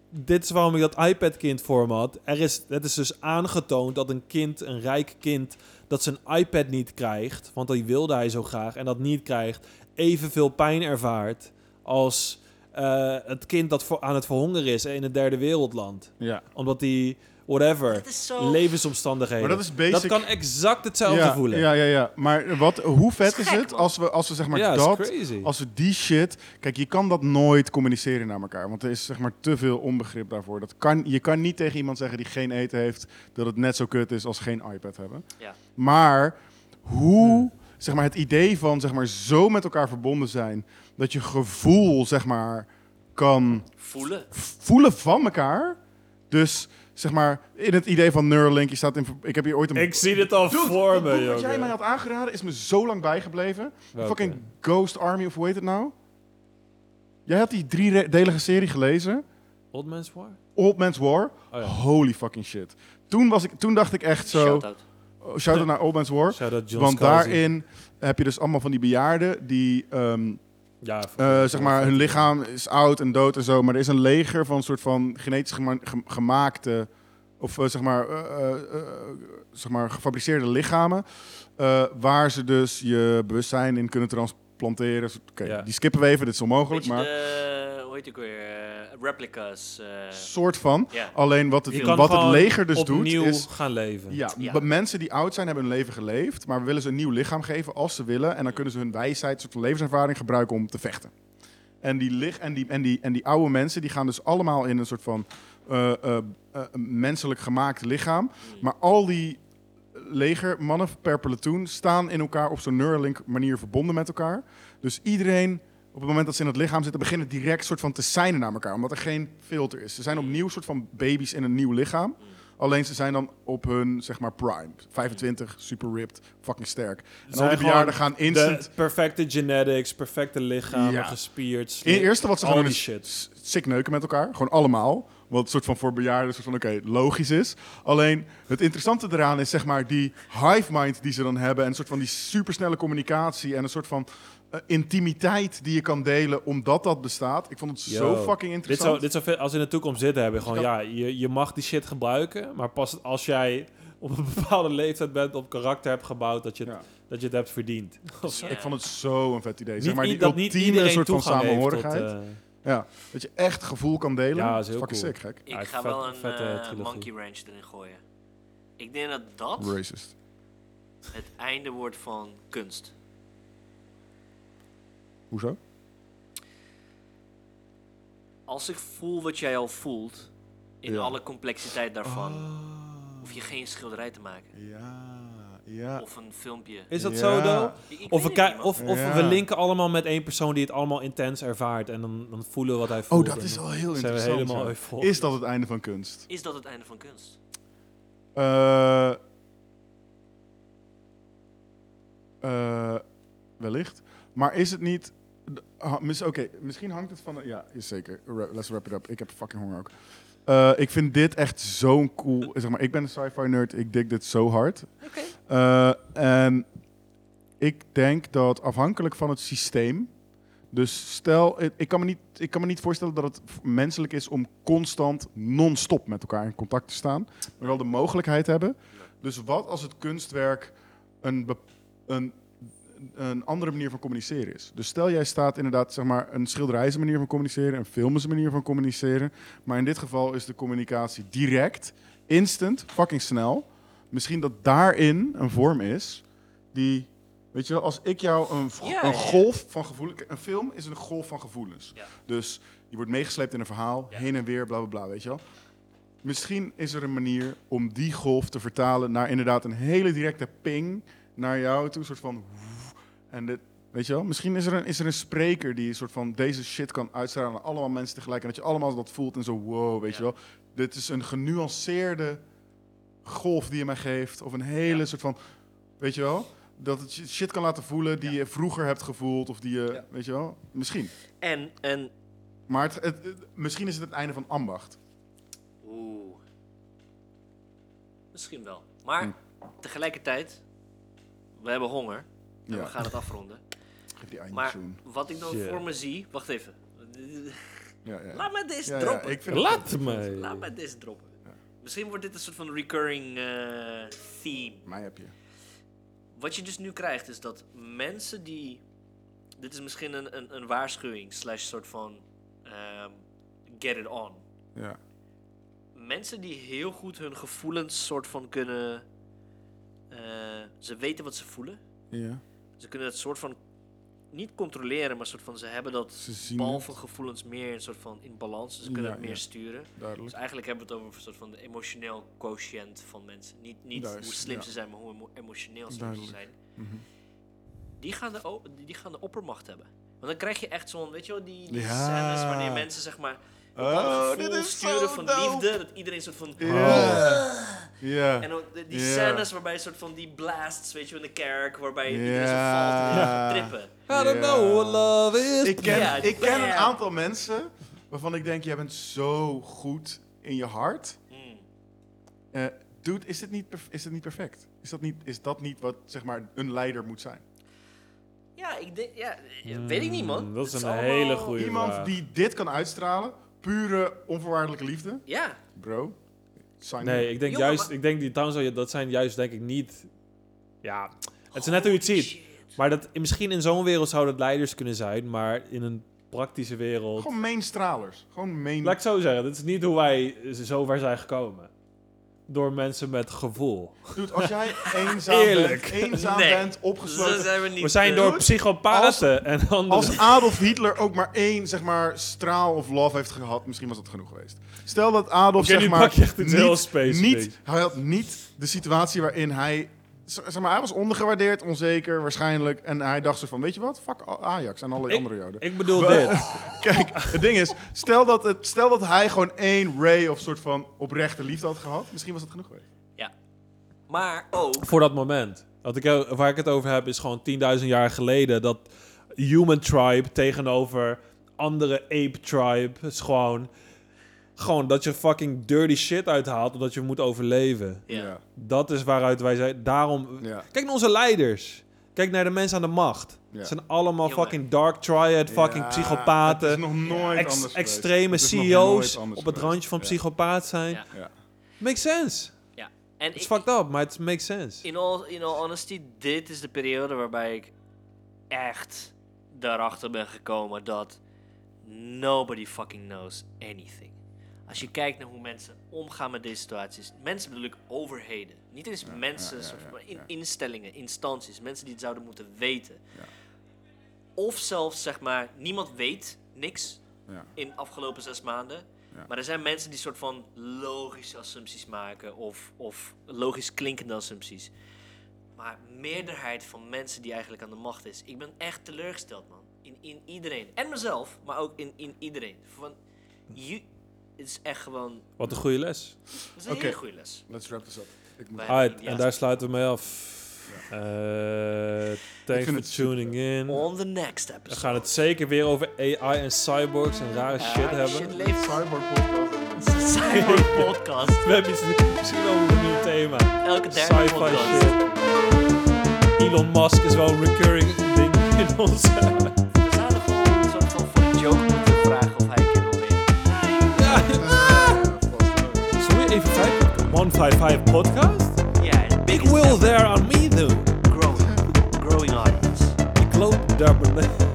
A: dit is waarom ik dat iPad-kind voor me had. Er is, het is dus aangetoond dat een kind, een rijk kind, dat zijn iPad niet krijgt, want die wilde hij zo graag en dat niet krijgt, evenveel pijn ervaart als eh, het kind dat voor, aan het verhongeren is in het derde wereldland.
C: Ja.
A: Omdat die, whatever,
B: Het is zo...
A: levensomstandigheden.
C: Maar dat is basic-
A: Dat kan exact hetzelfde
C: ja,
A: voelen.
C: Ja, ja, ja. Maar wat, hoe vet is
B: gek,
C: het
B: man.
C: als we, als we zeg maar
A: Ja, is
C: dat...
A: crazy.
C: Als we die shit... Kijk, je kan dat nooit communiceren naar elkaar. Want er is zeg maar te veel onbegrip daarvoor. Dat kan, je kan niet tegen iemand zeggen die geen eten heeft... dat het net zo kut is als geen iPad hebben.
B: Ja.
C: Maar hoe... Zeg maar het idee van zeg maar, zo met elkaar verbonden zijn... dat je gevoel zeg maar, kan
B: Voelen.
C: voelen van elkaar. Dus zeg maar, in het idee van Neuralink, je staat in... Ik heb hier ooit een...
A: Ik zie dit al
C: Dude,
A: voor
C: dat
A: me,
C: boek wat jij
A: jongen.
C: mij had aangeraden is me zo lang bijgebleven.
A: Welke?
C: Fucking Ghost Army of hoe heet het nou? Jij had die driedelige serie gelezen.
A: Old Man's War?
C: Old Man's War.
A: Oh ja.
C: Holy fucking shit. Toen, was ik, toen dacht ik echt zo...
B: Shout-out.
C: shout-out naar Old Man's War.
A: Shout-out John
C: Want
A: Scalzi.
C: daarin heb je dus allemaal van die bejaarden die, ehm,
A: Ja,
C: eh, zeg maar, hun lichaam is oud en dood en zo. Maar er is een leger van soort van genetisch gema- gem- gemaakte, of eh, zeg, maar, eh, eh, eh, zeg maar, gefabriceerde lichamen. eh, waar ze dus je bewustzijn in kunnen transplanteren. Dus, Oké,
A: Ja.
C: die skippen we even, dit is onmogelijk,
B: Beetje
C: maar
B: de, hoe heet ik weer? eh, replicas. eh,
C: soort van.
B: ja.
C: Alleen wat
A: Je
C: het,
A: kan
C: wat het
A: gewoon
C: leger dus doet,
A: opnieuw
C: is
A: gaan leven.
C: Ja,
B: Ja.
C: be- mensen die oud zijn hebben hun leven geleefd, maar we willen ze een nieuw lichaam geven als ze willen. En dan kunnen ze hun wijsheid, soort van levenservaring gebruiken om te vechten. En die, lig- en die, en die, en die oude mensen die gaan dus allemaal in een soort van eh, eh, eh, een menselijk gemaakt lichaam. Maar al die legermannen per platoon staan in elkaar op zo'n Neuralink manier verbonden met elkaar. Dus iedereen, op het moment dat ze in het lichaam zitten, beginnen direct soort van te seinen naar elkaar. Omdat er geen filter is. Ze zijn opnieuw soort van baby's in een nieuw lichaam. Alleen ze zijn dan op hun, zeg maar, prime. 25, super ripped, fucking sterk. En al
A: Zijn
C: die
A: gewoon
C: bejaarden gaan instant...
A: De perfecte genetics, perfecte lichamen,
C: Ja.
A: gespierd. sli-
C: Het eerste wat ze gaan
A: al
C: doen
A: die
C: is
A: shit.
C: s- sick neuken met elkaar. Gewoon allemaal. Wat soort van voor bejaarden soort van, oké, logisch is. Alleen het interessante eraan is zeg maar die hive mind die ze dan hebben. En een soort van die supersnelle communicatie. En een soort van eh, intimiteit die je kan delen omdat dat bestaat. Ik vond het zo
A: Yo.
C: fucking
A: Dit zou,
C: interessant.
A: dit zou veel- als we in de toekomst zitten hebben, gewoon ja, je, je mag die shit gebruiken, maar pas als jij op een bepaalde leeftijd bent, op karakter hebt gebouwd, dat je het,
C: Ja.
A: dat je het hebt verdiend. Of zo.
B: Ja.
C: Ik vond het zo een vet idee. Zeg
A: Niet,
C: maar die
A: niet dat niet
C: ultieme
A: iedereen
C: soort van
A: toegang heeft tot,
C: samenhorigheid.
A: eh,
C: Ja, dat je echt gevoel kan delen.
A: Ja,
C: Ja,
A: dat
C: is
A: is heel
C: fucking
A: cool.
C: sick, gek.
B: Ik
A: Ja,
B: ga
A: vet-
B: wel een
A: vette
B: eh,
A: trilogie.
B: Monkey Ranch erin gooien. Ik denk dat dat
C: Racist.
B: het einde wordt van kunst.
C: Hoezo?
B: Als ik voel wat jij al voelt, in
C: Ja.
B: alle complexiteit daarvan,
C: Oh.
B: hoef je geen schilderij te maken.
C: Ja, ja.
B: Of een filmpje.
A: is dat
C: Ja.
A: zo dan?
B: Ik- ik
A: Of, we,
B: weet het
A: ki-
B: niet, man.
A: of, of
C: Ja.
A: we linken allemaal met één persoon die het allemaal intens ervaart en dan, dan voelen we wat hij voelt.
C: Oh, dat
A: en
C: is
A: dan
C: wel heel
A: zijn we
C: interessant.
A: helemaal
C: ja.
A: euforisch.
C: Is dat het einde van kunst?
B: Is dat het einde van kunst?
C: Eh, eh, wellicht. Maar is het niet. d- ha- mis- Oké, misschien hangt het van. de- Ja, is zeker. Ra- Let's wrap it up. Ik heb fucking honger ook. Eh, ik vind dit echt zo'n cool. eh, Zeg maar, ik ben een sci-fi nerd. Ik dik dit zo hard. Eh, en ik denk dat afhankelijk van het systeem. Dus stel, ik- ik kan, me niet, ik kan me niet voorstellen dat het f- menselijk is om constant non-stop met elkaar in contact te staan. Maar wel de mogelijkheid hebben. Dus wat als het kunstwerk een, bep- een, een andere manier van communiceren is? Dus stel jij staat inderdaad, zeg maar, een schilderij is een manier van communiceren, een film is een manier van communiceren. Maar in dit geval is de communicatie direct, instant, fucking snel. Misschien dat daarin een vorm is die, weet je wel, als ik jou een, v-
B: Ja,
C: een
B: ja.
C: golf van gevoelens, een film is een golf van gevoelens.
B: Ja.
C: Dus je wordt meegesleept in een verhaal,
B: Ja.
C: heen en weer, bla bla bla, weet je wel. Misschien is er een manier om die golf te vertalen naar inderdaad een hele directe ping naar jou toe, een soort van. woef, En dit, weet je wel, misschien is er, een, is er een spreker die een soort van deze shit kan uitstralen aan allemaal mensen tegelijk. En dat je allemaal dat voelt en zo, wow, weet
B: Ja.
C: je wel. Dit is een genuanceerde golf die je mij geeft. Of een hele
B: Ja.
C: soort van, weet je wel. Dat het je shit kan laten voelen die je vroeger hebt gevoeld. Of die je, weet je wel, misschien.
B: En, en,
C: Maar het, het- het- misschien is het het einde van ambacht.
B: oeh. Misschien wel. Maar
C: Hm.
B: tegelijkertijd, we hebben honger. En
C: Ja.
B: we gaan het afronden.
C: Geef die
B: Maar
C: eindtune.
B: wat ik dan
A: Shit.
B: voor me zie, wacht even.
C: Ja, ja.
B: Laat me deze
C: Ja, ja,
B: droppen.
C: ik vind het-
A: Laat me.
B: Laat me deze droppen. Misschien wordt dit een soort van recurring eh, theme.
C: Mij heb je.
B: Wat je dus nu krijgt is dat mensen die. Dit is misschien een, een, een waarschuwing, slash soort van. ehm, get it on.
C: Ja.
B: Mensen die heel goed hun gevoelens soort van kunnen. eh, ze weten wat ze voelen.
C: ja.
B: Ze kunnen het soort van. Niet controleren, maar soort van ze hebben dat
C: Ze zien
B: bal
C: het,
B: van gevoelens meer een soort van in balans. Ze kunnen
C: Ja,
B: het meer
C: ja.
B: sturen. Dus
C: duidelijk.
B: eigenlijk hebben we het over een soort van de emotioneel quotient van mensen. Niet, niet
C: Daar is-
B: hoe slim
C: ja.
B: ze zijn, maar hoe emo- emotioneel ze
C: Duidelijk.
B: zijn.
C: Mhm.
B: Die, gaan de, o- die gaan de oppermacht hebben. Want dan krijg je echt zo'n, weet je wel, die, die
C: Ja.
B: scènes wanneer mensen zeg maar...
C: Oh,
B: een
C: dit
B: gevoel
C: is zo
B: sturen van
C: dope.
B: liefde, dat iedereen soort van... Oh.
C: Ja. Oh. Ja.
B: En dan de- die
C: Ja.
B: scènes waarbij een soort van die blasts, weet je, wel, in de kerk, waarbij iedereen zo valt
C: Ja.
B: en iedereen gaat trippen.
A: I don't
C: Ja.
A: know what love is.
C: Ik ken,
B: Ja,
C: ik ken
B: bam.
C: een aantal mensen
B: Hmm.
C: waarvan ik denk, jij bent zo goed in je hart.
B: Mm.
C: Eh, Dude, is dit niet, perf- is dit niet perfect? Is dat niet, is dat niet wat zeg maar, een leider moet zijn?
B: Ja, ik denk, ja, eh, weet ik niet, man.
A: Mm, dat is
B: Het
A: een
B: allemaal-
A: hele goede
C: Iemand
A: vraag.
C: die dit kan uitstralen, pure onvoorwaardelijke liefde,
B: Ja,
C: bro. Sign
A: Nee, ik denk
B: Jongen,
A: juist,
B: maar-
A: ik denk die Townsend, dat zijn juist denk ik niet... Ja, het is net hoe je het ziet. Maar dat, misschien in zo'n wereld zouden het leiders kunnen zijn, maar in een praktische
C: me.
A: wereld...
C: Gewoon main stralers. Gewoon main...
A: Laat ik het zo zeggen, dat is niet hoe wij eh, zover zijn gekomen. Door mensen met gevoel.
C: Dude, als jij eenzaam,
A: Eerlijk.
C: bent, eenzaam
B: Nee.
C: bent,
B: zo
C: opgesloten,
B: zijn we niet.
A: We zijn door
C: Dude,
A: psychopaten en anderen.
C: Als Adolf Hitler ook maar één zeg maar, straal of love heeft gehad, misschien was dat genoeg geweest. Stel dat Adolf
A: Oké, nu
C: zeg maar,
A: pak je echt iets
C: niet,
A: heel specifieks.
C: niet, hij had niet de situatie waarin hij, z- zeg maar, hij was ondergewaardeerd, onzeker waarschijnlijk, en hij dacht zo van, weet je wat, fuck A- Ajax en alle
A: Ik-
C: andere joden.
A: ik bedoel
C: We-
A: dit.
C: Kijk, het ding is, stel dat, het, stel dat hij gewoon één ray of soort van oprechte liefde had gehad, misschien was dat genoeg geweest.
B: Maar ook,
A: Voor dat moment. Wat ik, heel- waar ik het over heb is gewoon 10.000 jaar geleden. Dat human tribe tegenover andere ape tribe. is gewoon... Gewoon dat je fucking dirty shit uithaalt omdat je moet overleven.
B: Ja.
C: ja.
A: Dat is waaruit wij zijn. Daarom...
C: ja.
A: Kijk naar onze leiders. Kijk naar de mensen aan de macht.
C: Ja.
A: Het zijn allemaal
B: Jongen.
A: fucking dark triad, fucking
C: Ja,
A: psychopaten.
C: Het is nog nooit
A: Ex-
C: anders geweest.
A: extreme
C: Het is nog
A: CEO's
C: nooit
A: op
C: anders
A: het
C: geweest.
A: randje van
C: Ja.
A: psychopaat zijn.
B: Ja.
C: Ja.
A: Makes sense.
B: ja. En
A: It's
B: ik,
A: fucked up, maar it makes sense.
B: in, all, in all honesty, dit is de periode waarbij ik echt daarachter ben gekomen dat nobody fucking knows anything. Als je kijkt naar hoe mensen omgaan met deze situaties, mensen bedoel ik overheden, niet eens mensen,
C: ja,
B: soort
C: ja,
B: van
C: ja.
B: in, instellingen, instanties, mensen die het zouden moeten weten.
C: Ja.
B: Of zelfs zeg maar, niemand weet niks
C: Ja.
B: in de afgelopen zes maanden.
C: Ja.
B: Maar er zijn mensen die soort van logische assumpties maken of, of logisch klinkende assumpties. Maar meerderheid van mensen die eigenlijk aan de macht is. Ik ben echt teleurgesteld, man. In, in iedereen. En mezelf, maar ook in, in iedereen. Van, je, het is echt gewoon...
A: Wat een goede les.
B: Het is een
C: Oké.
B: hele goede les.
C: Let's wrap this up. Ik moet
B: Wij-
A: Alright,
B: Ja.
A: en daar sluiten we mee af. Eh, thanks
C: vind
A: for
C: het
A: tuning in. We
B: On the next episode.
A: gaan het zeker weer over AI en cyborgs en rare shit
B: Ah,
A: hebben.
B: Shit leeft.
C: Cyborg podcast.
B: Cyber podcast.
A: We hebben iets, misschien over een nieuw thema.
B: Elke derde
A: Sci-fi
B: podcast.
A: shit. Elon Musk is wel een recurring ding in onze...
B: We zouden gewoon een soort van voor een joke moeten vragen of hij een keer wil winnen.
A: Zullen we even kijken? 155 podcast?
B: Ja, het
A: Ik
B: biggest
A: will
B: ever
A: there on me though.
B: growing, growing audience.
A: Ik loop daar beneden.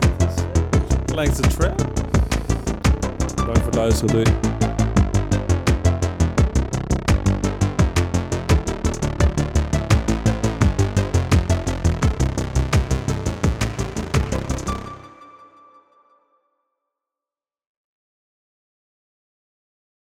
A: Lijkt een trap. Bedankt voor het luisteren, doei.